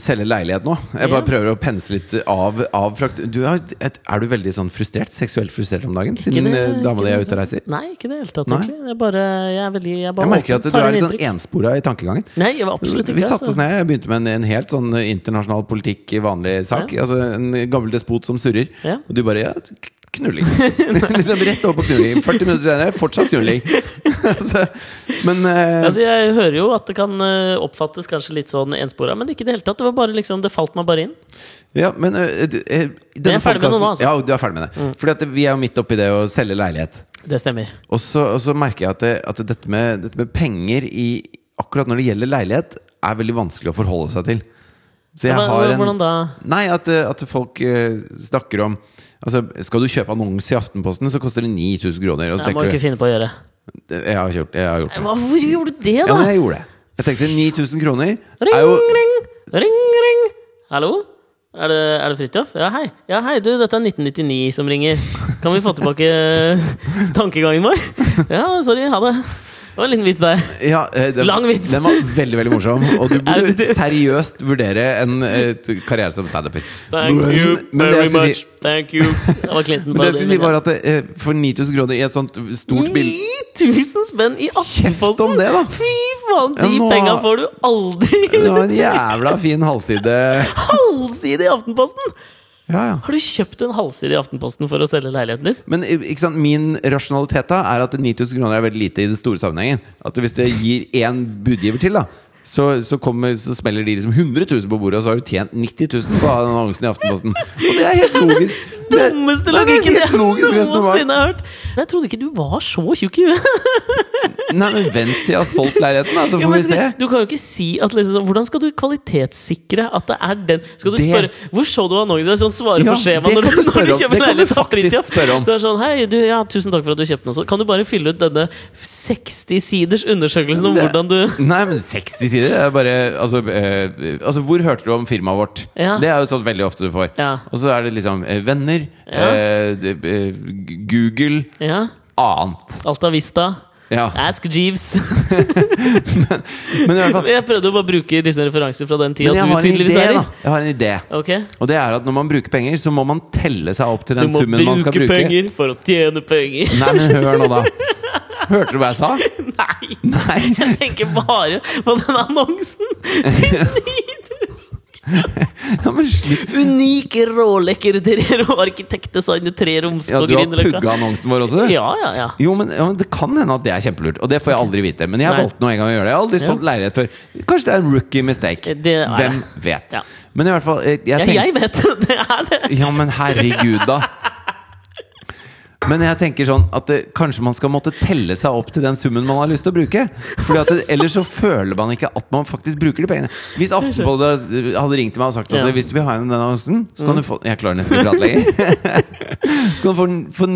S2: selge leilighet nå. Jeg bare
S1: Ja.
S2: prøver å pense litt av. av frakt. Du har, et, er du veldig sånn frustrert? Seksuelt frustrert om dagen? Siden
S1: det-
S2: eh, dama
S1: ikke
S2: di er
S1: det.
S2: ute og reiser?
S1: Nei, ikke i det hele tatt,
S2: Nei.
S1: egentlig. Jeg, bare, jeg, er veldig, jeg, bare
S2: Jeg merker at
S1: åpen,
S2: du
S1: tar
S2: er
S1: inn
S2: litt sånn
S1: inntrykk.
S2: enspora i tankegangen.
S1: Nei, jeg var absolutt ikke
S2: Vi satte
S1: altså.
S2: oss ned, jeg begynte med en, en helt sånn internasjonal politikk i vanlig sak. Altså En gammel despot som surrer.
S1: Ja.
S2: Og du bare ja, k-
S1: (laughs)
S2: knulling. liksom Rett over på knulling. 40 minutter senere, fortsatt
S1: (laughs)
S2: knulling. altså, men eh,
S1: Altså, jeg hører jo at det kan eh, oppfattes kanskje litt sånn enspora, men ikke i det hele tatt. Det var bare liksom, det falt meg bare inn.
S2: Ja, men eh, du, eh, denne
S1: er ferdig med det
S2: podcasten-
S1: nå, altså.
S2: Ja, du er ferdig med det. Fordi at vi er jo midt oppi det å selge leilighet.
S1: Det stemmer.
S2: Og så, og så merker jeg at, det, at dette, med, dette med penger i akkurat når det gjelder leilighet, er veldig vanskelig å forholde seg til. Så jeg
S1: Hva-
S2: har en
S1: hvordan da?
S2: Nei, at, eh, at folk eh, snakker om Altså, skal du kjøpe annonse i Aftenposten, så koster det 9000 kroner. Og så
S1: Det må du
S2: tenker
S1: ikke finne på å gjøre.
S2: du Jeg har gjort, jeg har gjort det.
S1: Hva, hvorfor gjorde du det,
S2: Ja,
S1: da?
S2: men jeg gjorde det. Jeg tenkte 9000 kroner
S1: Ring,
S2: er jo
S1: ring! Ring, ring! Hallo? Er det, er det Fridtjof? Ja, hei. Ja, hei, du, dette er 1999 som ringer. Kan vi få tilbake eh, tankegangen vår? Ja, sorry. Ha det. Det var en liten vits der.
S2: ja, eh, den,
S1: Lang vits.
S2: Den var veldig veldig morsom,
S1: (laughs)
S2: og du
S1: Er
S2: burde
S1: det-
S2: seriøst vurdere en eh, t- karriere som standuper.
S1: Thank you
S2: Men
S1: very
S2: det jeg skulle si-
S1: much. Thank you. Det var Clinton.
S2: Men det
S1: parodien
S2: jeg skulle si
S1: min, ja.
S2: var at eh, For 9000 kroner i et sånt stort bilde
S1: 9000 spenn i
S2: Kjeft om
S1: Aftenposten!
S2: det, da!
S1: Fy faen, de
S2: Ja, nå-
S1: penga får du aldri!
S2: Det var en
S1: (laughs)
S2: jævla fin halvside.
S1: Halvside i Aftenposten!
S2: Ja, ja.
S1: Har du kjøpt en halvside i Aftenposten for å selge leiligheten din?
S2: Men eh, ikke sant, min rasjonalitet da er at 9000 kroner er veldig lite i den store sammenhengen. At Hvis det gir én budgiver til, da så, så, kommer, så smeller de liksom 100 000 på bordet, og så har du tjent 90 000 på den annonsen i Aftenposten. Og det er helt
S1: (laughs)
S2: logisk. Det-
S1: Dummeste
S2: Nei, det er
S1: logikken jeg
S2: helt logisk resonemang.
S1: noensinne har hørt! Men jeg trodde ikke du var så tjukk i huet.
S2: Nei, men vent til jeg har solgt leiligheten, da, så
S1: Ja,
S2: får
S1: men
S2: vi se.
S1: skal- Du kan jo ikke si at liksom, Hvordan skal du kvalitetssikre at det er den Skal du
S2: Det-
S1: spørre Hvor så du annonsen? Sånn svarer
S2: Ja,
S1: på skjema
S2: det
S1: når,
S2: kan du
S1: du- når du
S2: spørre om.
S1: kjøper
S2: Det kan du
S1: leilighet av
S2: faktisk
S1: Fridtjof.
S2: spørre om.
S1: Så er det sånn Hei, du, ja, tusen takk for at du kjøpte den også. Kan du bare fylle ut denne 60 siders undersøkelsen om
S2: Det-
S1: hvordan du
S2: Nei, men 60 sider det er bare altså, eh, altså, hvor hørte du om firmaet vårt?
S1: Ja.
S2: Det er jo sånn veldig ofte du får.
S1: Ja.
S2: Og så er det liksom eh, venner,
S1: Ja.
S2: eh, det- eh, Google,
S1: Ja.
S2: annet.
S1: Alta Vista.
S2: Ja.
S1: Ask
S2: (laughs)
S1: Jeeves.
S2: Men, i
S1: (laughs)
S2: hvert fall,
S1: Jeg prøvde å bare bruke liksom referanser fra den tida
S2: men jeg
S1: du
S2: har en
S1: tydeligvis
S2: idé,
S1: er i.
S2: da. Jeg har en idé.
S1: Ok
S2: Og det er at når man bruker penger, så må man telle seg opp til
S1: Du
S2: den
S1: må
S2: summen man skal
S1: bruke
S2: bruke.
S1: penger for å tjene penger.
S2: Nei, men hør nå, da. Hørte du hva
S1: (laughs)
S2: jeg sa?
S1: Nei!
S2: Nei.
S1: Jeg tenker bare på den annonsen! Til 9000!
S2: Ja, men slutt.
S1: Unik rålekkerderer og arkitektdesignet tre roms
S2: Ja,
S1: på
S2: du har
S1: Grünerløkka.
S2: pugga annonsen vår også?
S1: Ja, ja, ja.
S2: Jo, men, ja, men Det kan hende at det er kjempelurt, og det får jeg aldri vite. Men jeg
S1: Nei.
S2: valgte nå en gang å gjøre det. Jeg har aldri solgt leilighet før. Kanskje det er en rookie mistake.
S1: Det er det.
S2: Hvem vet.
S1: Ja.
S2: Men i hvert fall eh, jeg
S1: ja
S2: tenkte, (laughs)
S1: jeg vet det! Det er det!
S2: Ja, men herregud, da. Men jeg tenker sånn at det, kanskje man skal måtte telle seg opp til den summen man har lyst til å bruke. Fordi at det, Ellers så føler man ikke at man faktisk bruker de pengene. Hvis Aftenpålet hadde ringt til meg og sagt at
S1: Ja.
S2: hvis du vil ha en denne annonsen, så kan du få Jeg klarer nesten ikke å prate lenger. (laughs) Så kan du få den for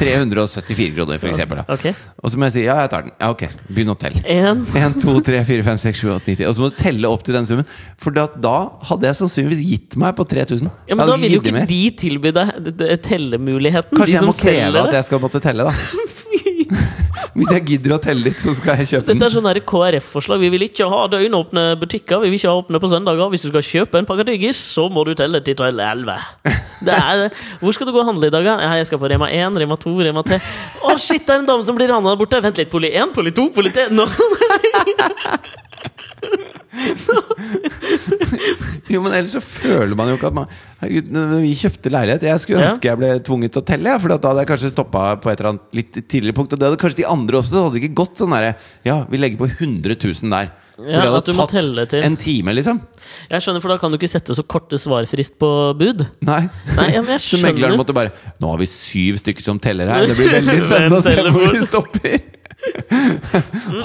S2: 9374 kroner, for eksempel. Da.
S1: Ok.
S2: Og så må jeg si ja, jeg tar den. Ja, ok. Begynn å telle.
S1: En
S2: 1, 2, 3, 4, 5, 6, 7, 8, 9, 10 Og så må du telle opp til den summen. For da, da hadde jeg sannsynligvis gitt meg på 3000.
S1: ja, men Da
S2: hadde
S1: vil jo
S2: gitt det
S1: ikke
S2: mer.
S1: de tilby deg d- d- tellemuligheten.
S2: Kanskje
S1: de
S2: jeg
S1: som
S2: må kreve
S1: selger
S2: at
S1: det.
S2: jeg skal måtte telle,
S1: (laughs)
S2: da. Hvis jeg gidder å telle litt, så skal jeg kjøpe
S1: Dette
S2: den.
S1: er sånn her KrF-forslag. Vi vil ikke ha døgnåpne butikker. Vi vil ikke ha åpne på søndager. Hvis du skal kjøpe en pakke tyggis, så må du telle til telle 11. Det er, hvor skal du gå og handle i dag? da? Ja, jeg skal på Rema 1, Rema 2, Rema 3. Å, shit, det er en dame som blir rana der borte. Vent litt. Poli 1, poli 2, poli 3 Nå.
S2: Jo, men ellers så føler man jo ikke at man Herregud, når vi kjøpte leilighet. Jeg skulle
S1: Ja.
S2: ønske jeg ble tvunget til å telle, for da hadde jeg kanskje stoppa på et eller annet litt tidligere punkt. Og det hadde kanskje de andre også, så hadde det ikke gått sånn derre Ja, vi legger på 100 000 der.
S1: Ja,
S2: For det hadde
S1: at du må
S2: tatt
S1: telle til.
S2: en time, liksom.
S1: Jeg skjønner, for da kan du ikke sette så korte svarfrist på bud.
S2: Nei.
S1: Nei, ja, men jeg
S2: Så megleren
S1: skjønner.
S2: måtte bare Nå har vi syv stykker som teller her.
S1: (laughs)
S2: Det blir veldig spennende å
S1: Hvem
S2: se
S1: teller
S2: hvor
S1: fort?
S2: vi stopper. (laughs)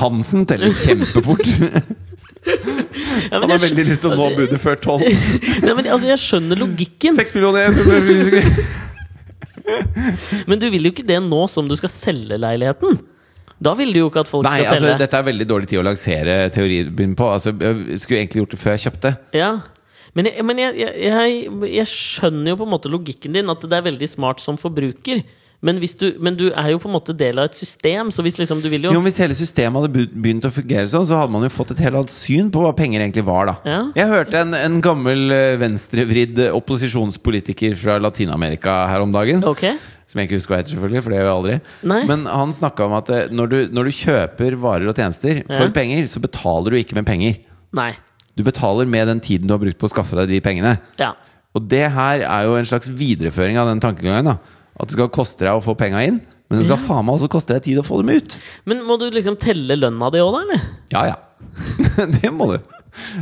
S2: Hansen teller
S1: (laughs)
S2: kjempefort.
S1: Ja, men
S2: Han har
S1: jeg,
S2: veldig lyst til å nå budet før tolv.
S1: (laughs) skj- nei, men, altså, jeg skjønner logikken,
S2: Seks millioner!
S1: (laughs)
S2: jeg-
S1: men du vil jo ikke det nå som du skal selge leiligheten. Da vil du jo ikke at folk
S2: Nei,
S1: skal telle.
S2: altså, dette er veldig dårlig tid å lansere teorien min på. Altså, jeg skulle egentlig gjort det før jeg kjøpte.
S1: Ja men, jeg, men jeg, jeg, jeg, jeg skjønner jo på en måte logikken din, at det er veldig smart som forbruker. Men, hvis du, men du er jo på en måte del av et system, så hvis liksom du vil jo,
S2: Jo, men Hvis hele systemet hadde be- begynt å fungere sånn, så hadde man jo fått et helt annet syn på hva penger egentlig var. da
S1: Ja.
S2: Jeg hørte en, en gammel eh, venstrevridd eh, opposisjonspolitiker fra Latin-Amerika her om dagen.
S1: Ok?
S2: Som jeg ikke husker hva heter, selvfølgelig, for det gjør jeg aldri.
S1: Nei.
S2: Men han snakka om at eh, når du, når du kjøper varer og tjenester for
S1: Ja.
S2: penger, så betaler du ikke med penger.
S1: Nei.
S2: Du betaler med den tiden du har brukt på å skaffe deg de pengene.
S1: Ja.
S2: Og det her er jo en slags videreføring av den tankegangen. da At det skal koste deg å få penga inn, men det skal faen meg også koste deg tid å få dem ut.
S1: Men må du liksom telle lønna di òg, da? eller?
S2: Ja, (laughs) ja. det må du.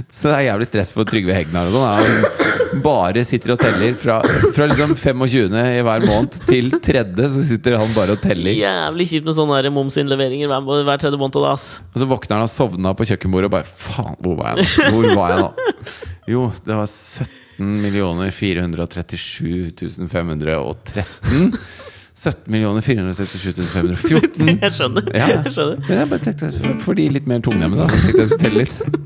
S2: Så det er jævlig stress for Trygve Hegnar og sånn. er jo Bare sitter og teller fra, fra liksom 25. i hver måned til 3. så sitter han bare og teller.
S1: Jævlig kjipt med sånne her momsinnleveringer hver, hver tredje måned. Da, ass.
S2: Og så våkner han og sovna på kjøkkenbordet og bare Faen, hvor var jeg nå? Hvor var jeg nå? Jo, det var 17 437 513. 17 437
S1: (laughs)
S2: 514.
S1: Jeg skjønner.
S2: Mm. Ja.
S1: Jeg skjønner.
S2: Men jeg bare tenkte for- For de litt mer tungnemme, da. Tenkte jeg skulle telle litt.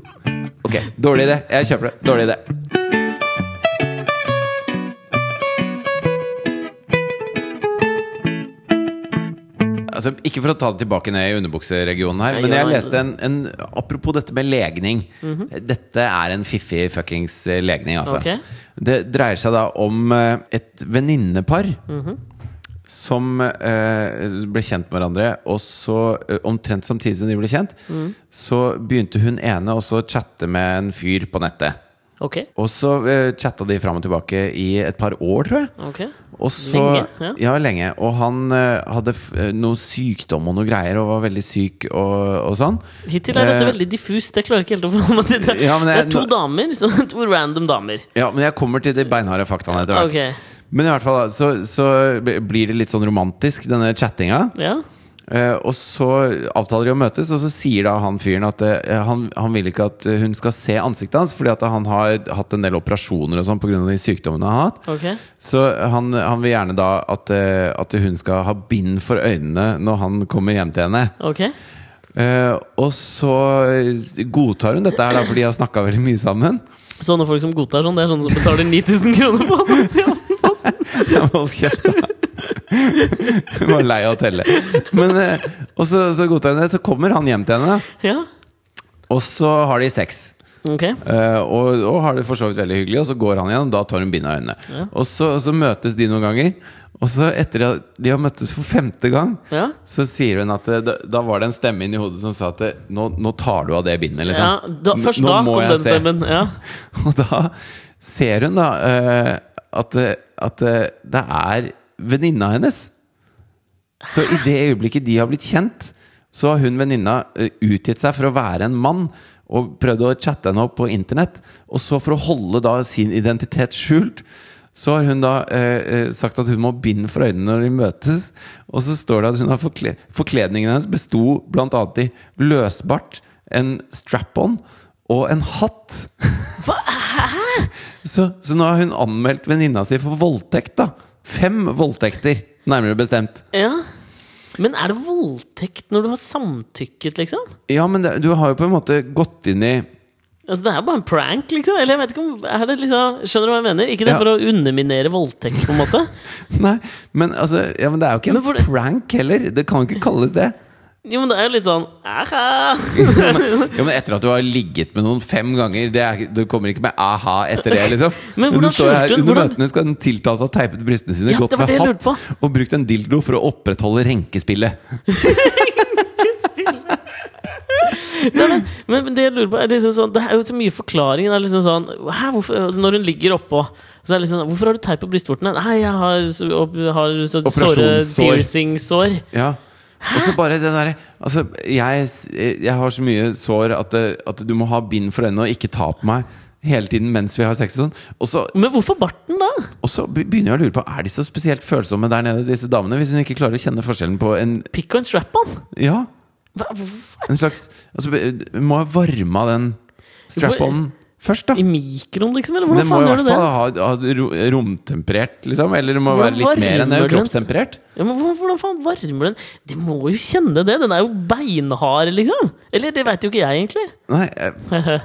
S2: Ok, dårlig idé. Jeg kjøper det. Dårlig idé. Altså, ikke for å ta det tilbake ned i underbukseregionen her,
S1: Nei,
S2: men
S1: gjør
S2: jeg
S1: det.
S2: leste en, en Apropos dette med legning. Dette er en fiffig fuckings eh, legning, altså.
S1: Mhm. Ok.
S2: Det dreier seg da om eh, et venninnepar
S1: Mhm.
S2: som eh, ble kjent med hverandre. Og så, eh, omtrent samtidig som de ble kjent,
S1: Mhm.
S2: så begynte hun ene også å chatte med en fyr på nettet.
S1: Ok.
S2: Og så eh, chatta de fram og tilbake i et par år, tror jeg.
S1: ok
S2: Og så,
S1: Lenge,
S2: Ja.
S1: ja.
S2: lenge. Og han eh, hadde f noe sykdom og noe greier og var veldig syk og, og sånn.
S1: Hittil er dette
S2: Eh,
S1: veldig diffust. Jeg klarer ikke helt å forholde meg til det.
S2: Ja, men
S1: det
S2: jeg-
S1: er to damer. Så, (laughs) to random damer.
S2: Ja, men jeg kommer til de beinharde faktaene etter hvert.
S1: Ok.
S2: Men i hvert fall da, så, så blir det litt sånn romantisk, denne chattinga.
S1: Ja.
S2: Eh, og så avtaler de å møtes, og så sier da han fyren at eh, han, han vil ikke at hun skal se ansiktet hans, fordi at han har hatt en del operasjoner og sånn pga. de sykdommene han har hatt.
S1: Ok.
S2: Så han, han vil gjerne da at, eh, at hun skal ha bind for øynene når han kommer hjem til henne.
S1: Ok.
S2: Eh, og så godtar hun dette her, da, for de har snakka veldig mye sammen.
S1: Sånne folk som godtar sånn, det er sånne som betaler 9000 kroner på annonse i Aftenposten.
S2: Jeg må holde kjeft, da. Hun var lei av å telle. Men, eh, og så, så godtar hun det. Så kommer han hjem til henne,
S1: Ja.
S2: og så har de sex.
S1: Ok.
S2: Eh, og, og har det for så vidt veldig hyggelig, og så går han igjen, og da tar hun bindet av øynene. Og, så, og så møtes de noen ganger, og så etter at de har møttes for femte gang,
S1: Ja.
S2: så sier hun at eh, da, da var det en stemme inni hodet som sa at eh, nå, nå tar du av det bindet,
S1: ja.
S2: liksom.
S1: Da, først
S2: Nå
S1: da
S2: må
S1: kom
S2: jeg
S1: den
S2: se.
S1: stemmen. Ja.
S2: (laughs) Og da ser hun da eh, at, eh, at eh, det er venninna hennes. Så i det øyeblikket de har blitt kjent, så har hun venninna eh, utgitt seg for å være en mann. Og prøvd å chatte henne opp på internett. Og så for å holde da sin identitet skjult, Så har hun da eh, eh, sagt at hun må ha bind for øynene når de møtes. Og så står det at hun har forkle forkledningen hennes besto bl.a. i løsbart, en strap-on og en hatt. så, så nå har hun anmeldt venninna si for voldtekt, da. Fem voldtekter, nærmere bestemt.
S1: Ja. Men er det voldtekt når du har samtykket, liksom?
S2: Ja, men det, du har jo på en måte gått inn i
S1: Altså, det er bare en prank, liksom. Eller jeg vet ikke om er det liksom, Skjønner du hva jeg mener? Ikke det
S2: Ja.
S1: for å underminere voldtekt, på en måte.
S2: (laughs) Nei, men altså ja, men Det er jo ikke
S1: Men
S2: en
S1: for det-
S2: prank heller. Det kan jo ikke kalles det.
S1: Jo, men det er jo litt sånn aha.
S2: (laughs) Ja, men, ja, men etter at du har ligget med noen fem ganger, det er, ikke- du kommer ikke med aha etter det, (laughs) liksom.
S1: Men hvordan
S2: du står jo her
S1: skjulte hun-
S2: Under
S1: hvordan-
S2: møtene skal den tiltalte ha teipet brystene sine
S1: Ja,
S2: godt
S1: det var
S2: med
S1: det jeg
S2: hatt
S1: lurte
S2: og brukt en dildo for å opprettholde renkespillet.
S1: Nei, men, men det jeg lurer på er liksom sånn Det er jo så mye forklaring. Det er liksom sånn Hæ, hvorfor, Når hun ligger oppå så er det liksom sånn, Hvorfor har du teip på brystvortene? Nei, jeg har, så- opp- har så, såre
S2: Operasjonssår.
S1: piercingsår.
S2: Ja og så bare det derre altså, jeg, jeg har så mye sår at, det, at du må ha bind for øynene og ikke ta på meg hele tiden mens vi har sex. Og sånn Og så
S1: Men hvorfor barten, da?
S2: Og så be- begynner jeg å lure på Er de så spesielt følsomme der nede, disse damene? Hvis hun ikke klarer å kjenne forskjellen på en
S1: Pick and strap-on?
S2: Ja,
S1: Hva- hva-
S2: en slags altså, be- Hun må ha varma den strap-on først, da.
S1: I mikroen, liksom? Eller
S2: Den
S1: hvordan
S2: må
S1: faen
S2: i
S1: gjør du
S2: hvert
S1: det?
S2: fall ha, ha ro- romtemperert, liksom. Eller det må
S1: Hvordan
S2: være litt mer enn det.
S1: varmer den?
S2: Kroppstemperert.
S1: Ja, men hvordan, hvordan faen varmer den? De må jo kjenne det! Den er jo beinhard, liksom! Eller det veit jo ikke jeg, egentlig.
S2: Nei, eh, jeg,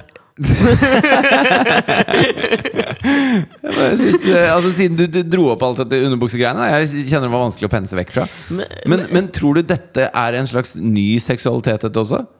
S2: jeg bare synes, eh, altså, siden du, du dro opp alt dette underbuksegreiene, da, jeg kjenner det var vanskelig å pense vekk fra.
S1: Men-
S2: Men, men tror du dette er en slags ny seksualitet, dette også?
S1: (laughs)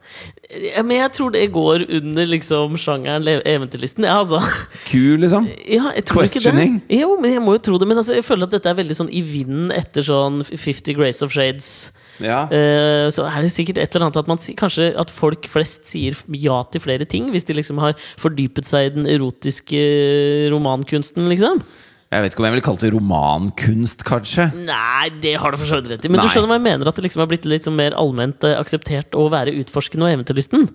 S1: Ja, men jeg tror det går under liksom sjangeren le- eventyrlysten, ja, altså.
S2: Q, liksom?
S1: Ja, jeg tror ikke
S2: Questioning?
S1: det. Jo, men jeg må jo tro det. Men altså, jeg føler at dette er veldig sånn i vinden etter sånn Fifty Grace of Shades.
S2: Ja.
S1: Eh, så er det sikkert et eller annet at man si- kanskje at folk flest sier ja til flere ting, hvis de liksom har fordypet seg i den erotiske romankunsten, liksom.
S2: Jeg vet ikke om jeg ville kalt det romankunst, kanskje.
S1: Nei, det har du for så vidt rett i. Men
S2: Nei.
S1: du skjønner hva jeg mener? At det liksom har blitt litt sånn mer allment eh, akseptert å være utforskende og eventyrlysten.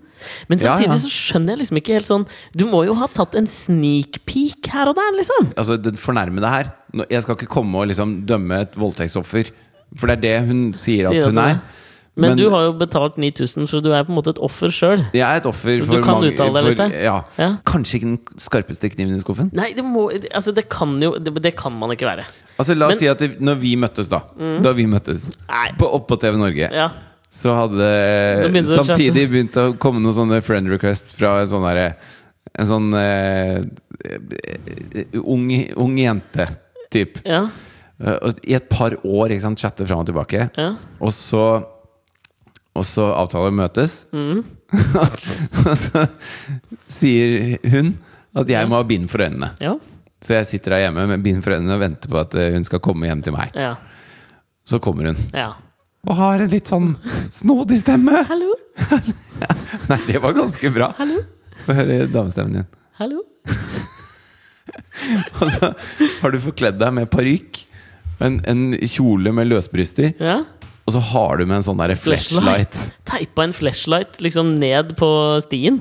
S1: Men
S2: Ja, ja.
S1: samtidig så skjønner jeg liksom ikke helt sånn Du må jo ha tatt en sneak peek her og der, liksom!
S2: Altså, Den fornærmede her nå- Jeg skal ikke komme og liksom dømme et voldtektsoffer, for det er det hun sier at
S1: Sier at
S2: hun
S1: hun
S2: er.
S1: er. Men, du har jo betalt 9000, så du er på en måte et offer sjøl.
S2: jeg er et offer
S1: Så
S2: for
S1: du kan
S2: mange
S1: uttale deg litt
S2: for-
S1: her?
S2: Ja.
S1: Ja.
S2: Kanskje ikke den skarpeste kniven i skuffen.
S1: Nei, det må Altså, det kan jo Det, det kan man ikke være.
S2: Altså, La
S1: Men- Mm.
S2: oss si at det, når vi møttes, da Da vi møttes
S1: Nei.
S2: på, opp på TV Norge,
S1: Ja.
S2: så hadde
S1: Så begynte det å chatte.
S2: samtidig begynt å komme noen sånne friend requests fra en sånn derre En sånn eh, ung, ung jente-type.
S1: Ja.
S2: Eh, og I et par år ikke sant, chatte fram og tilbake.
S1: Ja.
S2: Og så Og så avtaler vi møtes.
S1: Mm.
S2: og (laughs) så sier hun at jeg må ha bind for øynene.
S1: Ja.
S2: Så jeg sitter der hjemme med bind for øynene og venter på at eh, hun skal komme hjem til meg.
S1: Ja.
S2: Så kommer hun.
S1: ja.
S2: Og har en litt sånn snodig stemme.
S1: Hallo?
S2: Nei, det var ganske bra.
S1: Hallo?
S2: Få høre damestemmen din.
S1: Hallo?
S2: Og så har du forkledd deg med parykk, en, en kjole med løsbryster,
S1: Ja?
S2: og så har du med en sånn derre flashlight.
S1: Teipa en flashlight liksom ned på stien.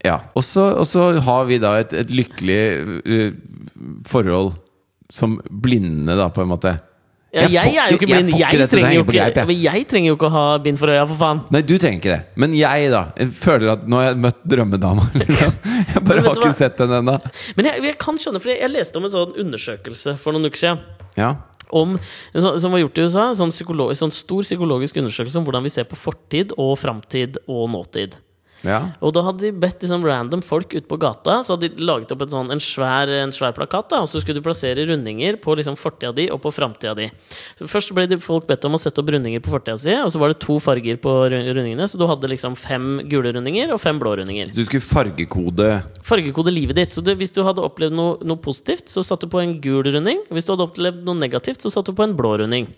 S2: Ja, og så, og så har vi da et, et lykkelig eh, forhold som blinde, da, på en måte.
S1: Ja, jeg, er
S2: får
S1: jo
S2: ikke-
S1: ikke
S2: jeg
S1: blind.
S2: får ikke
S1: Jeg,
S2: dette, så jeg
S1: trenger jo
S2: henger på
S1: ikke,
S2: greip, jeg.
S1: men jeg trenger jo ikke å ha bind for øya, for faen.
S2: Nei, du trenger ikke det. Men jeg, da. Jeg føler at nå har jeg møtt
S1: (laughs)
S2: drømmedama. Liksom. Jeg bare
S1: Men vet
S2: har
S1: du
S2: ikke
S1: hva?
S2: sett henne ennå.
S1: Men jeg, jeg kan skjønne, for jeg, jeg leste om en sånn undersøkelse for noen uker siden.
S2: Ja.
S1: Om, en sånn- som var gjort i USA. En sånn, psykolo- sånn stor psykologisk undersøkelse om hvordan vi ser på fortid og framtid og nåtid.
S2: ja.
S1: Og da hadde de bedt liksom random folk ute på gata Så hadde de laget opp en, sånn, en, svær, en svær plakat da, Og så skulle du plassere rundinger på liksom fortida di og på framtida di så Først ble de folk bedt om å sette opp rundinger på fortida si Og så var det to farger på ru- rundingene Så du hadde liksom fem gule rundinger og fem blå rundinger
S2: Du skulle fargekode
S1: Fargekode livet ditt Så du, hvis du hadde opplevd noe, noe positivt Så satt du på en gul runding Hvis du hadde opplevd noe negativt Så satt du på en blå runding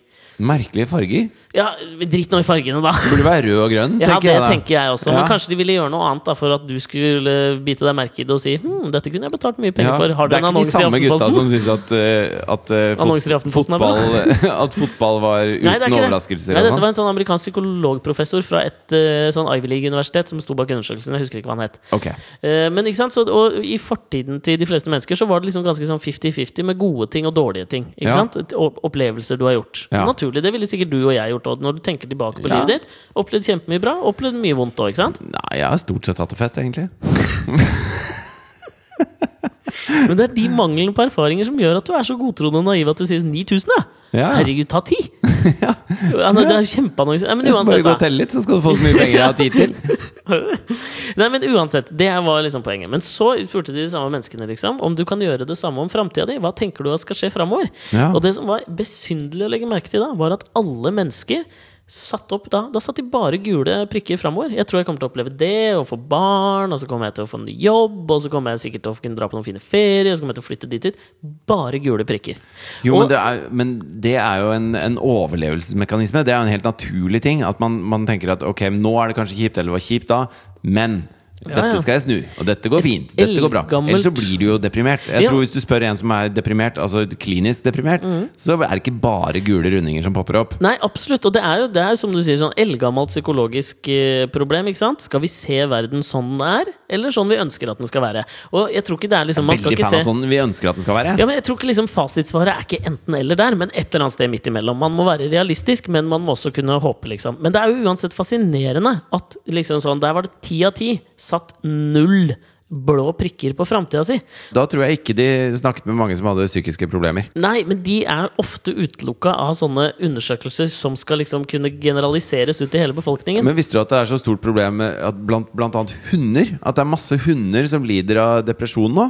S2: Merkelige farger.
S1: Ja, drit nå i fargene, da.
S2: Det burde være rød og grønn,
S1: Ja,
S2: tenker
S1: det
S2: jeg da.
S1: tenker jeg også.
S2: Ja.
S1: Men kanskje de ville gjøre noe annet da for at du skulle bite deg merke i det og si hm, dette kunne jeg betalt mye penger
S2: Ja,
S1: for. Har du
S2: det er
S1: en
S2: ikke de
S1: annonse i
S2: samme gutta
S1: Aftenposten?
S2: som syns at, eh, at, eh, fot-
S1: Annonser i Aftenposten er bra. (laughs)
S2: fotball, eh, at fotball var uten
S1: Nei, det er ikke det.
S2: overraskelser.
S1: Nei,
S2: og
S1: dette
S2: sånn.
S1: var en sånn amerikansk psykologprofessor fra et eh, sånn Ivy League-universitet som sto bak undersøkelsen. Jeg husker ikke hva han het.
S2: sånn. Ok.
S1: Eh, men ikke sant, så, og i fortiden til de fleste mennesker så var det liksom ganske sånn 50-50 med gode ting og dårlige ting. Ikke
S2: Ja.
S1: sant? Et- o- Opplevelser du har gjort.
S2: Ja.
S1: Naturlig, det ville sikkert du og jeg gjort òg, når du tenker tilbake på
S2: Ja.
S1: livet ditt. Opplevd kjempemye bra, opplevd mye vondt òg, ikke sant?
S2: Nei, jeg har stort sett hatt det fett, egentlig.
S1: Men det er de manglene på erfaringer som gjør at du er så godtroende og naiv at du sier 9000, ja!
S2: Ja.
S1: Herregud, ta
S2: (laughs)
S1: ti! ja. nei, Det er kjempeannonse. Nei, men
S2: Hvis du bare
S1: uansett,
S2: går og
S1: da.
S2: teller litt, så skal du få så mye penger jeg har tid til.
S1: (laughs) Nei, men uansett, det var liksom poenget. Men så spurte de de samme menneskene liksom, om du kan gjøre det samme om framtida di. Hva tenker du at skal skje framover?
S2: Ja.
S1: Og det som var besynderlig å legge merke til da, var at alle mennesker satt opp da Da satt de bare gule prikker framover. Jeg tror jeg kommer til å oppleve det, og få barn, og så kommer jeg til å få en ny jobb, og så kommer jeg sikkert til å kunne dra på noen fine ferier, og så kommer jeg til å flytte dit ut. Bare gule prikker.
S2: Jo,
S1: Og-
S2: men det er, men det er jo en, en overlevelsesmekanisme. Det er jo en helt naturlig ting. At man, man tenker at ok, nå er det kanskje kjipt, eller det var kjipt da, men
S1: ja.
S2: dette skal jeg snu. Og dette går fint. Dette går bra.
S1: eldgammelt-
S2: Ellers så blir du jo deprimert. Jeg
S1: Ja.
S2: tror Hvis du spør en som er deprimert, altså klinisk deprimert,
S1: Mm.
S2: så er det ikke bare gule rundinger som popper opp.
S1: Nei, absolutt. Og det er jo det er, jo, som du sier, sånn eldgammelt psykologisk eh, problem. ikke sant? Skal vi se verden sånn den er, eller sånn vi ønsker at den skal være? Og jeg tror ikke det er liksom, man skal
S2: Veldig
S1: ikke
S2: fan
S1: se...
S2: av sånn vi ønsker at den skal være.
S1: Ja, men jeg tror ikke liksom Fasitsvaret er ikke enten-eller der, men et eller annet sted midt imellom. Man må være realistisk, men man må også kunne håpe, liksom. Men det er jo uansett fascinerende at liksom sånn, der var det ti av ti satt null blå prikker på framtida si.
S2: Da tror jeg ikke de snakket med mange som hadde psykiske problemer.
S1: Nei, men de er ofte utelukka av sånne undersøkelser som skal liksom kunne generaliseres ut til hele befolkningen.
S2: Men visste du at det er så stort problem med at blant, blant annet hunder? At det er masse hunder som lider av depresjon nå?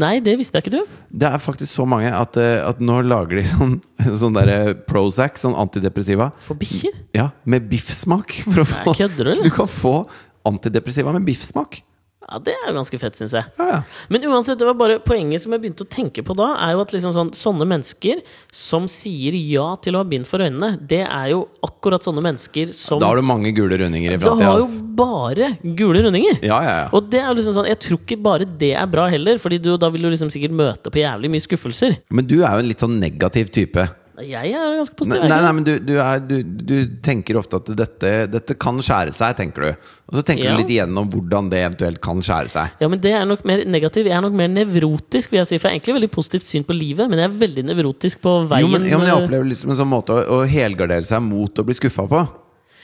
S1: Nei, det visste jeg ikke, du.
S2: Det er faktisk så mange at, eh, at nå lager de (laughs) sånn, sånn derre Prozac, sånn antidepressiva,
S1: For bikkjer?
S2: ja, med biffsmak. (laughs) For å få,
S1: kødder du, eller?
S2: du kan få antidepressiva med biffsmak.
S1: Ja, det er jo ganske fett, syns jeg.
S2: Ja, ja.
S1: Men uansett, det var bare poenget som jeg begynte å tenke på da, er jo at liksom sånn, sånne mennesker som sier ja til å ha bind for øynene, det er jo akkurat sånne mennesker som
S2: Da har du mange gule rundinger i
S1: Da
S2: framtida.
S1: Sånn. har jo
S2: ass.
S1: bare gule rundinger!
S2: Ja, ja, ja.
S1: Og det er jo liksom sånn, jeg tror ikke bare det er bra heller, Fordi du, da vil du liksom sikkert møte på jævlig mye skuffelser.
S2: Men du er jo en litt sånn negativ type.
S1: Jeg er ganske
S2: Nei,
S1: positiv.
S2: nei,
S1: jeg.
S2: nei men du, du, er, du, du tenker ofte at dette, dette kan skjære seg, tenker du. Og så tenker
S1: Ja.
S2: du litt igjennom hvordan det eventuelt kan skjære seg.
S1: Ja, men det er nok mer negativ. Jeg er nok mer nevrotisk, vil jeg si. For jeg har egentlig veldig positivt syn på livet, men jeg er veldig nevrotisk på veien.
S2: Jo, men, ja, men jeg
S1: eh,
S2: opplever liksom en sånn måte å, å helgardere seg mot å bli skuffa på.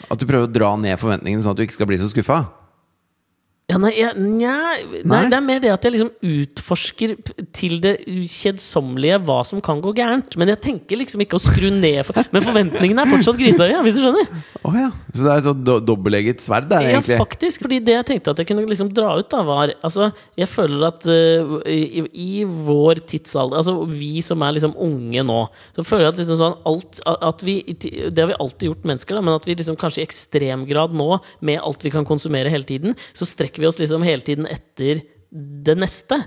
S2: At du prøver å dra ned forventningene sånn at du ikke skal bli så skuffa.
S1: Ja, nei, jeg, nei, nei,
S2: Nei?
S1: det er mer det at jeg liksom utforsker p- til det ukjedsommelige hva som kan gå gærent. Men jeg tenker liksom ikke å skru ned
S2: (laughs)
S1: for, Men forventningene er fortsatt grisehøye, hvis du skjønner?
S2: Oh, ja. Så det er et sånn do dobbeltegget sverd, det,
S1: Ja,
S2: egentlig.
S1: faktisk. Fordi det jeg tenkte at jeg kunne liksom dra ut, da, var Altså, jeg føler at eh, i, i vår tidsalder Altså, vi som er liksom unge nå, så føler jeg at liksom sånn alt at vi, Det har vi alltid gjort, mennesker, da, men at vi liksom kanskje i ekstrem grad nå, med alt vi kan konsumere hele tiden, så strekker vi oss liksom hele tiden etter det neste.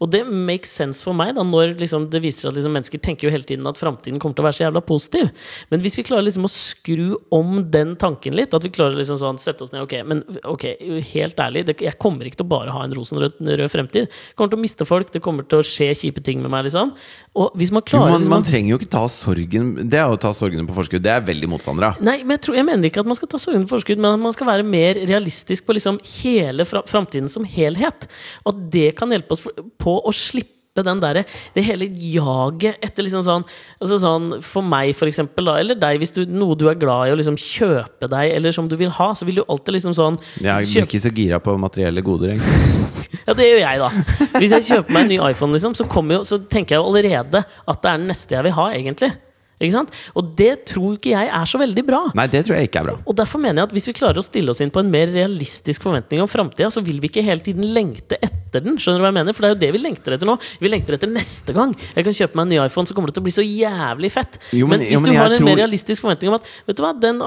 S1: Og det makes sense for meg, da, når liksom det viser seg at liksom mennesker tenker jo hele tiden at framtiden kommer til å være så jævla positiv. Men hvis vi klarer liksom å skru om den tanken litt, at vi klarer liksom sånn sette oss ned Ok, men ok, helt ærlig, det, jeg kommer ikke til å bare ha en rosenrød rød fremtid. Jeg kommer til å miste folk, det kommer til å skje kjipe ting med meg, liksom. Og hvis man
S2: Jo,
S1: klarer
S2: man,
S1: liksom,
S2: man trenger jo ikke ta sorgen Det er å ta sorgene på forskudd. Det er jeg veldig motstander av.
S1: Nei, men jeg, tror, jeg mener ikke at man skal ta sorgene på forskudd, men at man skal være mer realistisk på liksom hele fra, framtiden som helhet. Og at det kan hjelpe oss for, på å slippe den derre det hele jaget etter liksom sånn, altså sånn For meg, for eksempel, da, eller deg, hvis du noe du er glad i å liksom kjøpe deg, eller som du vil ha, så vil du alltid liksom sånn
S2: Jeg blir
S1: kjøpe-
S2: ikke så gira på materielle goder, egentlig.
S1: ja, det gjør jeg, da. Hvis jeg kjøper meg en ny iPhone, liksom, så, kommer jo, så tenker jeg jo allerede at det er den neste jeg vil ha, egentlig. Ikke sant? Og det tror ikke jeg er så veldig bra.
S2: Nei, det tror jeg ikke er bra.
S1: Og derfor mener jeg at Hvis vi klarer å stille oss inn på en mer realistisk forventning om framtida, så vil vi ikke hele tiden lengte etter den. Skjønner du hva jeg mener? For det er jo det vi lengter etter nå. Vi lengter etter neste gang. Jeg kan kjøpe meg en ny iPhone, så kommer det til å bli så jævlig fett.
S2: Jo, men-
S1: Mens hvis
S2: jo, men
S1: du
S2: jeg
S1: har en mer
S2: tror-
S1: realistisk forventning om at Vet du hva, den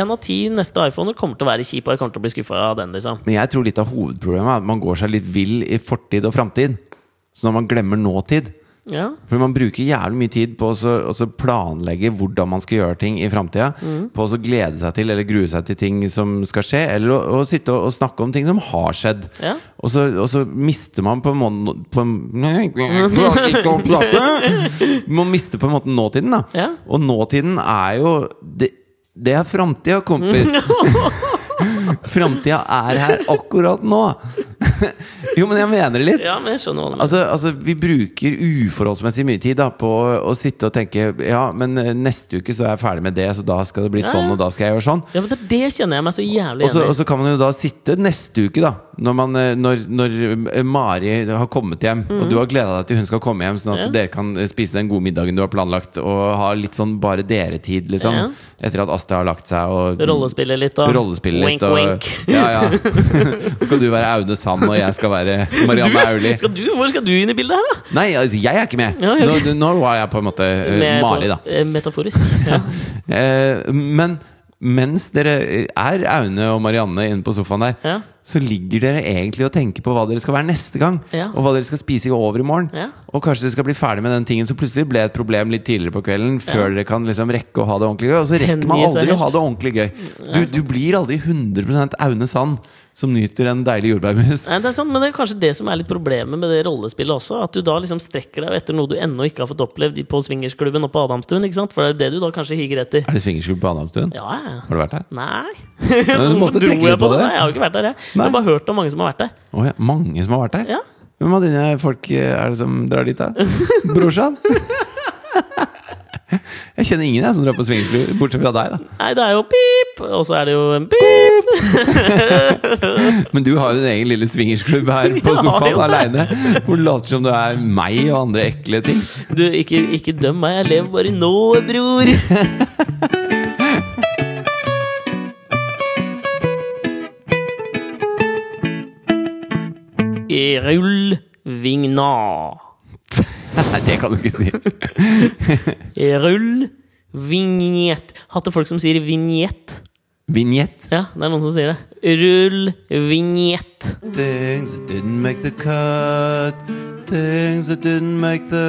S1: én av ti neste iPhoner kommer til å være kjip, og jeg kommer til å bli skuffa av den, liksom.
S2: Men jeg tror litt av hovedproblemet er at man går seg litt vill i fortid og framtid. Så når man glemmer nåtid,
S1: Ja.
S2: For man bruker jævlig mye tid på å så- å så planlegge hvordan man skal gjøre ting i framtida.
S1: Mm.
S2: På å så glede seg til eller grue seg til ting som skal skje, eller å, å sitte og, og snakke om ting som har skjedd.
S1: Ja.
S2: Og, så, og så mister man på en måte på en, (laughs) Klarer ikke å prate! Man mister på en måte nåtiden, da.
S1: Ja.
S2: Og nåtiden er jo Det, det er framtida,
S1: (laughs)
S2: kompis! (laughs) framtida er her akkurat nå! (laughs) jo, men jeg mener det litt.
S1: ja, men jeg skjønner hva du mener.
S2: Altså, altså, vi bruker uforholdsmessig mye tid da, på å, å sitte og tenke Ja, men eh, neste uke så er jeg ferdig med det, så da skal det bli
S1: Ja,
S2: sånn,
S1: ja.
S2: og da skal jeg gjøre sånn.
S1: Ja, men det, det kjenner jeg meg så jævlig
S2: Og så,
S1: enig
S2: og
S1: i.
S2: så kan man jo da sitte neste uke, da. Når, man, eh, når, når eh, Mari har kommet hjem, og du har gleda deg til hun skal komme hjem, sånn at
S1: Mhm. Ja.
S2: dere kan eh, spise den gode middagen du har planlagt, og ha litt sånn bare dere-tid, liksom.
S1: Ja.
S2: Etter at Asta har lagt seg og
S1: Rollespille litt, da.
S2: Rollespille litt
S1: wink,
S2: og
S1: wink.
S2: Ja,
S1: (laughs)
S2: (laughs) ja. skal du være Aune Sand, og jeg skal være
S1: Du,
S2: Marianne Aulie.
S1: skal du, hvor skal du inn i bildet her, da?
S2: Nei, altså, jeg er ikke med.
S1: Ja, ok.
S2: Nå, nå var jeg på en måte eh,
S1: Med-
S2: Mari, da.
S1: eh, Metaforisk.
S2: (laughs)
S1: Ja.
S2: Eh, men mens dere er Aune og Marianne inne på sofaen der,
S1: Ja.
S2: så ligger dere egentlig og tenker på hva dere skal være neste gang.
S1: Ja.
S2: Og hva dere skal spise i over i morgen.
S1: Ja.
S2: Og kanskje dere skal bli ferdig med den tingen som plutselig ble et problem litt tidligere på kvelden. Før dere kan liksom rekke å ha det ordentlig gøy. Og så rekker man
S1: Hengi seg
S2: aldri å
S1: helt.
S2: ha det ordentlig gøy. Du, du blir aldri 100 Aune Sand som nyter en deilig jordbærmus.
S1: Nei, det er sant, men det er kanskje det som er litt problemet med det rollespillet også. At du da liksom strekker deg etter noe du ennå ikke har fått opplevd i- på swingersklubben og på Adamstuen. ikke sant? For det er det du da kanskje higer etter.
S2: Er det swingersklubb på Anamstuen?
S1: Ja, ja.
S2: Har du vært der?
S1: Nei.
S2: måtte
S1: Hvorfor (laughs) dro
S2: tenke litt
S1: jeg
S2: på
S1: på det?
S2: det.
S1: Nei, jeg har jo ikke vært der, jeg.
S2: Nei.
S1: Jeg har bare hørt om mange som har vært der.
S2: Å ja, mange som har vært der?
S1: Ja.
S2: Hvem av dine folk eh, er det som
S1: (laughs)
S2: drar dit, da? Brorsan? jeg kjenner ingen jeg som drar på swingersklubb, bortsett fra deg. da
S1: Nei, det er jo pip, og så er det jo en pip.
S2: Men du har jo din egen lille swingersklubb her på
S1: (laughs) Ja,
S2: sofaen
S1: jo.
S2: aleine. Hvor du later som du er meg og andre ekle ting.
S1: Du, ikke, ikke døm meg, jeg lever bare i nået, bror. (laughs) Rull vigna.
S2: Nei, det kan du ikke si.
S1: Rull vignett. Hatt det folk som sier vignett.
S2: Vignett.
S1: Ja, det er noen som sier det. Rull vignett.
S2: Things that didn't make the cut. Things that didn't make the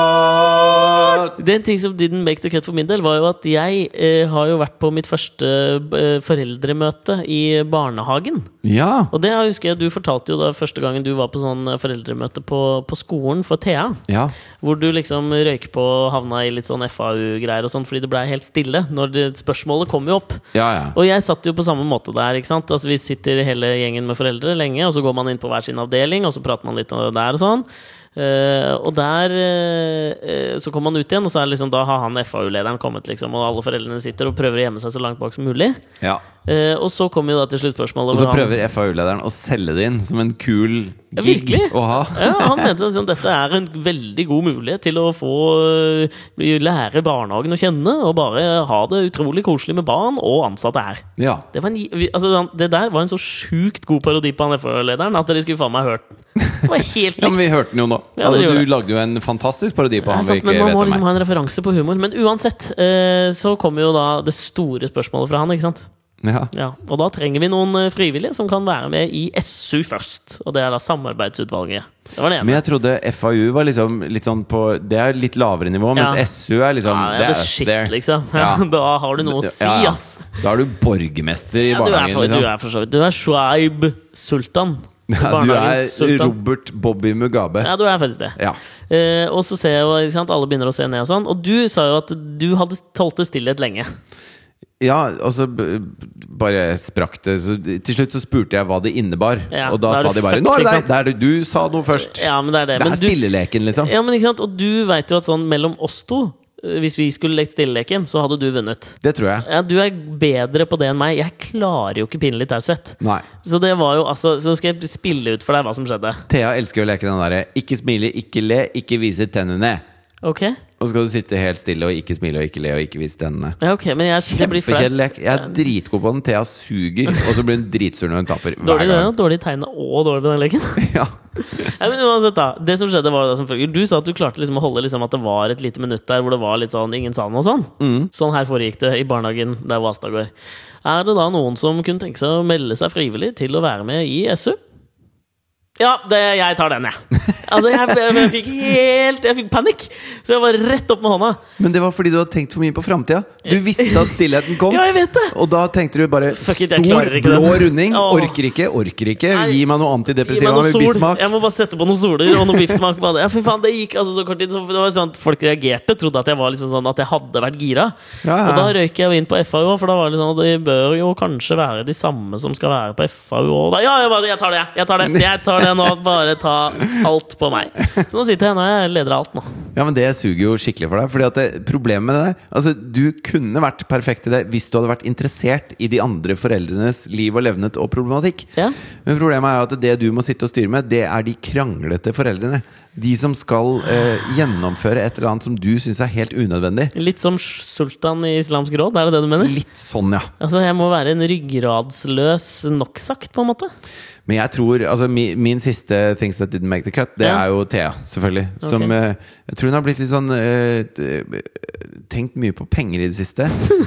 S2: cut.
S1: Det er en ting som didn't make the cut for min del, var jo at jeg eh, har jo vært på mitt første eh, foreldremøte i barnehagen.
S2: Ja.
S1: Og det husker jeg du fortalte jo da første gangen du var på sånn foreldremøte på, på skolen for Thea.
S2: ja.
S1: Hvor du liksom røyk på og havna i litt sånn FAU-greier og sånn fordi det blei helt stille. Når det, spørsmålet kom jo opp.
S2: Ja, ja.
S1: Og jeg satt jo på samme måte der. ikke sant? Altså Vi sitter hele gjengen med foreldre lenge, og så går man inn på hver sin avdeling, og så prater man litt om det der og sånn. Eh, og der eh, eh, Så kommer man ut igjen, og så er det liksom, da har han FAU-lederen kommet, liksom, og alle foreldrene sitter og prøver å gjemme seg så langt bak som mulig.
S2: ja.
S1: Eh, og så kommer jo da til sluttspørsmålet.
S2: Og så
S1: hvor han-
S2: prøver FAU-lederen å selge det inn som en kul
S1: Ja,
S2: gig
S1: virkelig.
S2: å ha.
S1: ja, han mente liksom at dette er en veldig god mulighet til å få eh, lære barnehagen å kjenne, og bare ha det utrolig koselig med barn og ansatte her.
S2: Ja.
S1: Det, var en, vi- altså, han- det der var en så sjukt god parodi på han FH-lederen at dere skulle faen meg hørt den. Det var helt
S2: ja, men
S1: likt.
S2: vi hørte den jo nå.
S1: Ja, det
S2: altså,
S1: gjorde
S2: du
S1: det.
S2: lagde jo en fantastisk parodi på
S1: Det er
S2: han vi
S1: sant,
S2: ikke
S1: men man
S2: vet
S1: må
S2: om
S1: liksom
S2: her.
S1: ha en referanse på humor. Men uansett, eh, så kommer jo da det store spørsmålet fra han. ikke sant?
S2: Ja.
S1: Ja, Og da trenger vi noen eh, frivillige som kan være med i SU først. Og det er da Samarbeidsutvalget. Det var det
S2: Men
S1: ene.
S2: jeg trodde FAU var liksom litt sånn på Det er litt lavere nivå, mens
S1: Ja.
S2: SU er liksom
S1: Ja, det
S2: det
S1: er
S2: er
S1: the shit,
S2: there.
S1: liksom.
S2: (laughs) Ja.
S1: (laughs) Da har du noe å si,
S2: Ja, ja.
S1: ass.
S2: Da er du borgermester i
S1: Ja, du, er
S2: barnehagen,
S1: for, du
S2: liksom.
S1: er for så vidt Du er Shuaib Sultan.
S2: (laughs) Ja, du
S1: Barnehagens
S2: er Robert Bobby Mugabe.
S1: Ja, du er faktisk det.
S2: Ja.
S1: Eh, og så ser jeg jo, ikke sant, alle begynner å se ned og sånn. Og du sa jo at du hadde tålte stillhet lenge.
S2: Ja, og så b- b- bare sprakk det. Så til slutt så spurte jeg hva det innebar,
S1: Ja,
S2: og da,
S1: da er
S2: sa
S1: du
S2: de bare
S1: fucked,
S2: 'Nå er det
S1: ikke
S2: deg!' Det er det du sa noe først.
S1: Ja, men det er det.
S2: det
S1: Men
S2: er
S1: du,
S2: stilleleken, liksom.
S1: ja, men ikke sant, og du veit jo at sånn mellom oss to, eh, hvis vi skulle lekt stilleleken, så hadde du vunnet.
S2: Det tror jeg.
S1: Ja, du er bedre på det enn meg. Jeg klarer jo ikke pinlig taushet.
S2: Nei.
S1: Så det var jo altså Så skal jeg spille ut for deg hva som skjedde.
S2: Thea elsker jo å leke den derre 'ikke smile, ikke le, ikke vise tennene'.
S1: Ok?
S2: Og så skal du sitte helt stille og ikke smile og ikke le og ikke vise tennene.
S1: Ja, ok, men jeg, det blir flaut.
S2: Kjempekjedelig lek. Jeg er dritgod på den. Thea suger, og så blir hun dritsur når hun taper.
S1: Dårlig,
S2: Hver
S1: det, da.
S2: gang.
S1: dårlig tegna og dårlig på den leken. (laughs)
S2: (laughs) Ja.
S1: Nei, men uansett da, det som skjedde var jo da som følger Du sa at du klarte liksom å holde liksom at det var et lite minutt der hvor det var litt sånn ingen sa noe og sånn.
S2: Mm.
S1: Sånn her foregikk det i barnehagen der hvor Asta går. Er det da noen som kunne tenke seg å melde seg frivillig til å være med i SU? Ja, det, jeg tar den, jeg. Altså, jeg, jeg, jeg fikk helt Jeg fikk panikk! Så jeg var rett opp med hånda.
S2: Men det var fordi du hadde tenkt for mye på framtida. Du visste at stillheten kom.
S1: (laughs) Ja, jeg vet det.
S2: Og da tenkte du bare
S1: Fuck it, jeg
S2: stor,
S1: klarer ikke
S2: blå
S1: det.
S2: runding.
S1: Åh.
S2: Orker ikke, orker ikke.
S1: Nei.
S2: Gi meg noe
S1: Gi
S2: antidepressiva
S1: meg noe
S2: med
S1: sol.
S2: bismak.
S1: Jeg må bare sette på noen soler og noe biffsmak. på det. Ja, fy faen, det gikk altså så kort tid. Så det var sånn at Folk reagerte, trodde at jeg var liksom sånn at jeg hadde vært gira.
S2: Ja, ja.
S1: Og da røyk jeg jo inn på FAU, for da var det litt sånn at de bør jo kanskje være de samme som skal være på FAU. Og da, ja, jeg, bare, jeg tar det, jeg. Jeg tar det, jeg tar det nå. Bare ta alt på meg. Så nå sitter jeg nå, jeg leder av alt nå.
S2: Ja, men Det suger jo skikkelig for deg. Fordi at det, Problemet med det der Altså, Du kunne vært perfekt i det hvis du hadde vært interessert i de andre foreldrenes liv og levnet og problematikk.
S1: Ja.
S2: Men problemet er jo at det du må sitte og styre med, det er de kranglete foreldrene. De som skal eh, gjennomføre et eller annet som du syns er helt unødvendig.
S1: Litt som sultan i Islamsk råd, er det det du mener?
S2: Litt sånn, ja.
S1: Altså, Jeg må være en ryggradsløs noksakt, på en måte.
S2: Men jeg tror altså, min, min siste Things That Didn't Make The Cut, det
S1: Ja.
S2: er jo Thea, selvfølgelig. Som
S1: Ok.
S2: eh, Jeg tror hun har blitt litt sånn eh, t- Tenkt mye på penger i det
S1: (laughs)
S2: siste.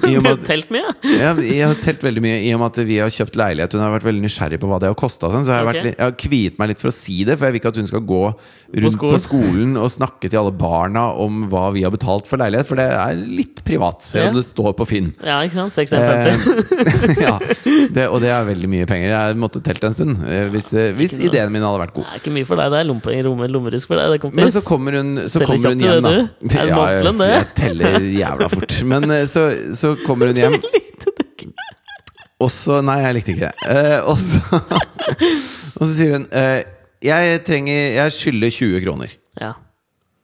S2: I og med at,
S1: Telt mye?
S2: ja, jeg har telt veldig mye i og med at vi har kjøpt leilighet. Hun har vært veldig nysgjerrig på hva det har kosta. Sånn, så jeg har,
S1: Ok.
S2: vært litt, jeg har kviet meg litt for å si det, for jeg vil ikke at hun skal gå rundt på
S1: skolen.
S2: skolen. og snakke til alle barna om hva vi har betalt for leilighet, for det er litt privat, selv om
S1: Ja.
S2: det står på Finn.
S1: Ja, ikke sant? 6150.
S2: Eh, (laughs) ja, det, og det er veldig mye penger. Jeg måtte telt en stund eh, hvis, eh, hvis
S1: Ikke noe.
S2: ideen min hadde vært
S1: Det
S2: god.
S1: er ikke mye for deg. Det er lompe, romme, lommerusk for deg, det, kompis.
S2: Men så kommer hun, så
S1: Teller
S2: kommer
S1: kjapt,
S2: hun hjem, da.
S1: du. Det er en
S2: Ja, jeg,
S1: månedslønn, det.
S2: jeg teller jævla fort. Men eh, så, så kommer hun
S1: (laughs)
S2: hjem, og så Nei, jeg likte ikke det. Eh, Og så, (laughs) og så sier hun eh, Jeg trenger Jeg skylder 20 kroner.
S1: Ja.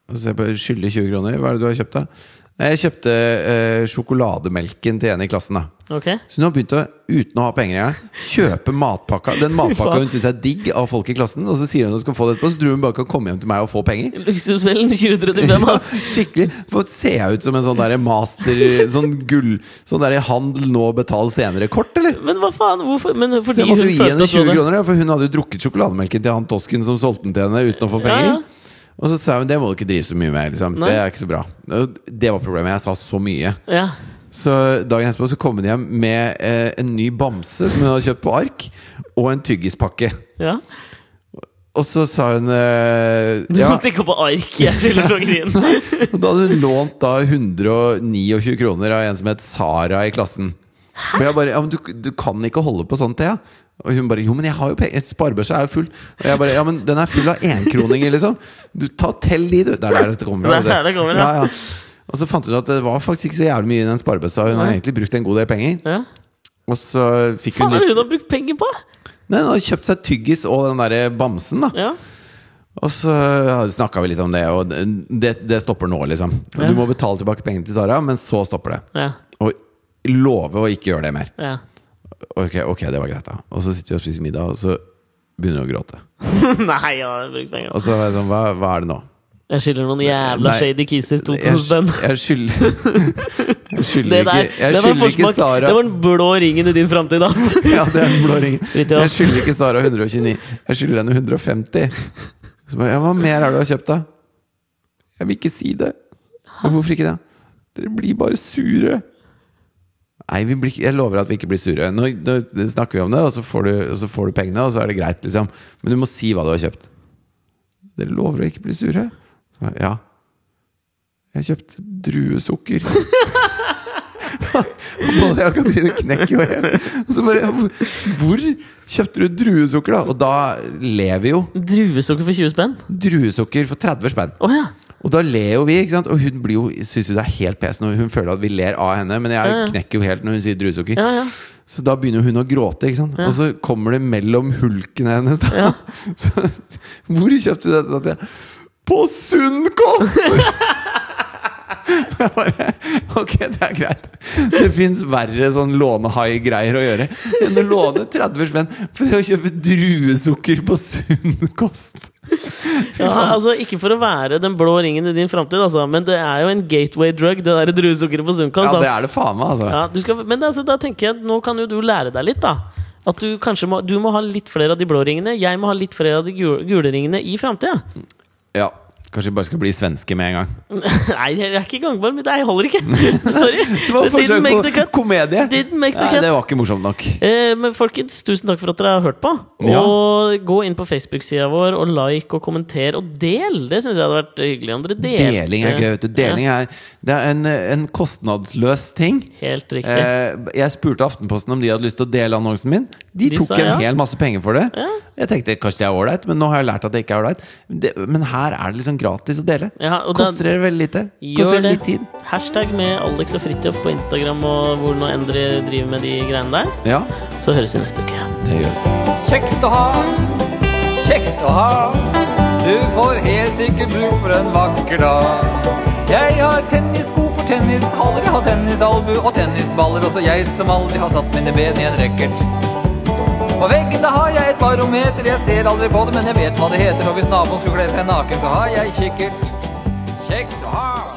S2: Og så ser jeg på skylder 20 kroner. Hva er det du har kjøpt, da? Nei, Jeg kjøpte eh, sjokolademelken til en i klassen, da.
S1: Ok.
S2: Så hun har begynt å, uten å ha penger engang, kjøpe matpakka Den
S1: (laughs)
S2: matpakka
S1: faen.
S2: hun syns er digg av folk i klassen, og så sier hun at hun skal få det etterpå, så tror hun bare kan komme hjem til meg og få penger.
S1: Luksusfellen 2035,
S2: Ja,
S1: altså.
S2: skikkelig. For ser jeg ut som en sånn derre master Sånn gull Sånn derre handel nå, betal senere-kort, eller?
S1: Men hva faen? Hvorfor? Men
S2: Så
S1: fordi
S2: jeg måtte
S1: hun
S2: jo gi
S1: følte
S2: henne
S1: at du
S2: 20
S1: hadde
S2: kroner, ja, for hun hadde jo drukket sjokolademelken til han tosken som solgte den til henne uten å få penger.
S1: Ja, ja.
S2: Og så sa hun det må du ikke drive så mye med. Liksom.
S1: Nei.
S2: Det er ikke så bra. Og Det var problemet. Jeg sa så mye.
S1: Ja.
S2: Så dagen etterpå så kom hun hjem med eh, en ny bamse som hun hadde kjøpt på ark, og en tyggispakke.
S1: ja.
S2: Og så sa hun eh,
S1: Du
S2: ja,
S1: må stikke opp på ark. Jeg skylder klokkeren.
S2: Og da hadde hun lånt da 129 kroner av en som het Sara i klassen. Og jeg bare Ja, men du, du kan ikke holde på sånn, Thea. Og hun bare Jo, men jeg har jo penger. Sparebørsa er jo full. Og jeg bare Ja, men den er full av enkroninger, liksom. Du, ta tell de, du. Det er der dette kommer fra.
S1: Det er
S2: vet du.
S1: der det kommer fra.
S2: ja, ja. Og så fant hun at det var faktisk ikke så jævlig mye i den sparebøssa. Hun har
S1: Nei.
S2: egentlig brukt en god del penger.
S1: Ja.
S2: Og så fikk
S1: Faen,
S2: hun
S1: hva er det
S2: litt
S1: hun har brukt penger på?
S2: Nei, hun hadde kjøpt seg tyggis og den derre bamsen, da.
S1: Ja.
S2: Og så snakka vi litt om det, og det, det stopper nå, liksom.
S1: Ja.
S2: Du må betale tilbake pengene til Sara, men så stopper det.
S1: Ja.
S2: Og love å ikke gjøre det mer.
S1: ja. (laughs)
S2: Ok, ok, det var greit, da. Og så sitter vi og spiser middag, og så begynner hun å gråte.
S1: Nei, jeg har brukt penger.
S2: Og så er jeg sånn, hva, hva er det nå?
S1: Jeg skylder noen jævla
S2: Nei.
S1: shady kiser
S2: Jeg,
S1: 2000 spenn.
S2: sky- jeg skylder (laughs) Jeg
S1: Det
S2: skylder
S1: der,
S2: ikke,
S1: det var en
S2: jeg skylder ikke
S1: forsmak.
S2: Sara
S1: Det var den blå ringen i din framtid, altså.
S2: (laughs) Ja, det er den blå ringen.
S1: Vet du hva?
S2: Jeg skylder ikke Sara 129. Jeg skylder henne 150. Så bare, ja, Hva mer er det du har kjøpt, da? Jeg vil ikke si det. Men hvorfor ikke det? Dere blir bare sure. Nei, vi blir, ikke- jeg lover at vi ikke blir sure. Nå, nå snakker vi om det, og så, får du, og så får du pengene, og så er det greit, liksom. Men du må si hva du har kjøpt. Dere lover å ikke bli sure? Så, bare, ja. Jeg har kjøpt druesukker. Både jeg og Katrine knekker jo helt. Og så bare Hvor kjøpte du druesukker, da? Og da lever jo
S1: Druesukker for 20 spenn?
S2: druesukker for 30 spenn.
S1: Å ja.
S2: Og da ler jo vi, ikke sant? Og hun blir jo, syns jo det er helt pes når hun føler at vi ler av henne. Men
S1: Ja, ja.
S2: jeg knekker jo helt når hun sier druesukker.
S1: Ja, ja.
S2: Så da begynner hun å gråte, ikke sant? Og så kommer det mellom hulkene hennes, da.
S1: Ja.
S2: (laughs) Så, hvor kjøpte du dette? Da? På Sunnkost!
S1: (laughs)
S2: (laughs) Jeg bare, ok, det er greit. Det fins verre sånn lånehai-greier å gjøre enn å låne 30 spenn for å kjøpe druesukker på Sunnkost.
S1: Ja, altså Ikke for å være den blå ringen i din framtid, altså, men det er jo en gateway drug, det der druesukkeret på Sunkost.
S2: Ja, det er det faen meg, altså.
S1: Ja, du skal, men altså, da tenker jeg, nå kan jo du lære deg litt, da. At du kanskje må, du må ha litt flere av de blå ringene, jeg må ha litt flere av de gule, gule ringene i framtida.
S2: Ja. Kanskje vi bare skal bli svenske med en gang.
S1: (laughs) Nei, jeg er ikke gangbar, men det holder ikke. (laughs) Sorry.
S2: Det var
S1: It didn't
S2: forsøk
S1: make the
S2: på
S1: cut.
S2: komedie!
S1: Didn't make the
S2: Nei,
S1: cut.
S2: det var ikke morsomt nok.
S1: Eh, Men folkens, tusen takk for at dere har hørt på.
S2: Ja.
S1: Og gå inn på Facebook-sida vår og like og kommenter og del! Det syns jeg hadde vært hyggelig om dere delte.
S2: Deling er gøy. vet du.
S1: eh,
S2: Deling er, det er en, eh, en kostnadsløs ting.
S1: Ja, helt riktig.
S2: Eh, jeg spurte Aftenposten om de hadde lyst til å dele annonsen min. De,
S1: De
S2: tok
S1: sa
S2: en
S1: ja.
S2: hel masse penger for det.
S1: Ja.
S2: Jeg tenkte kanskje det er ålreit, men nå har jeg lært at det ikke er ålreit. Det- Men her er det liksom gratis å dele.
S1: Ja, og da-
S2: Koster dere veldig lite. Koster
S1: Gjør
S2: dere
S1: det.
S2: litt tid.
S1: Hashtag med Alex og Fridtjof på Instagram og hvor nå enn dere driver med de greiene der.
S2: Ja,
S1: Så høres vi neste uke.
S2: det gjør det.
S3: Kjekt å ha, kjekt å ha. Du får helt sikkert bruk for en vakker dag. Jeg har tennissko for tennis, aldri har tennisalbu og tennisballer. Også jeg som aldri har satt mine ben i en racket. På veggen da har jeg et barometer, jeg ser aldri på det, men jeg vet hva det heter. Og hvis naboen skulle kle seg naken, så har jeg kikkert. Kjekt å ha.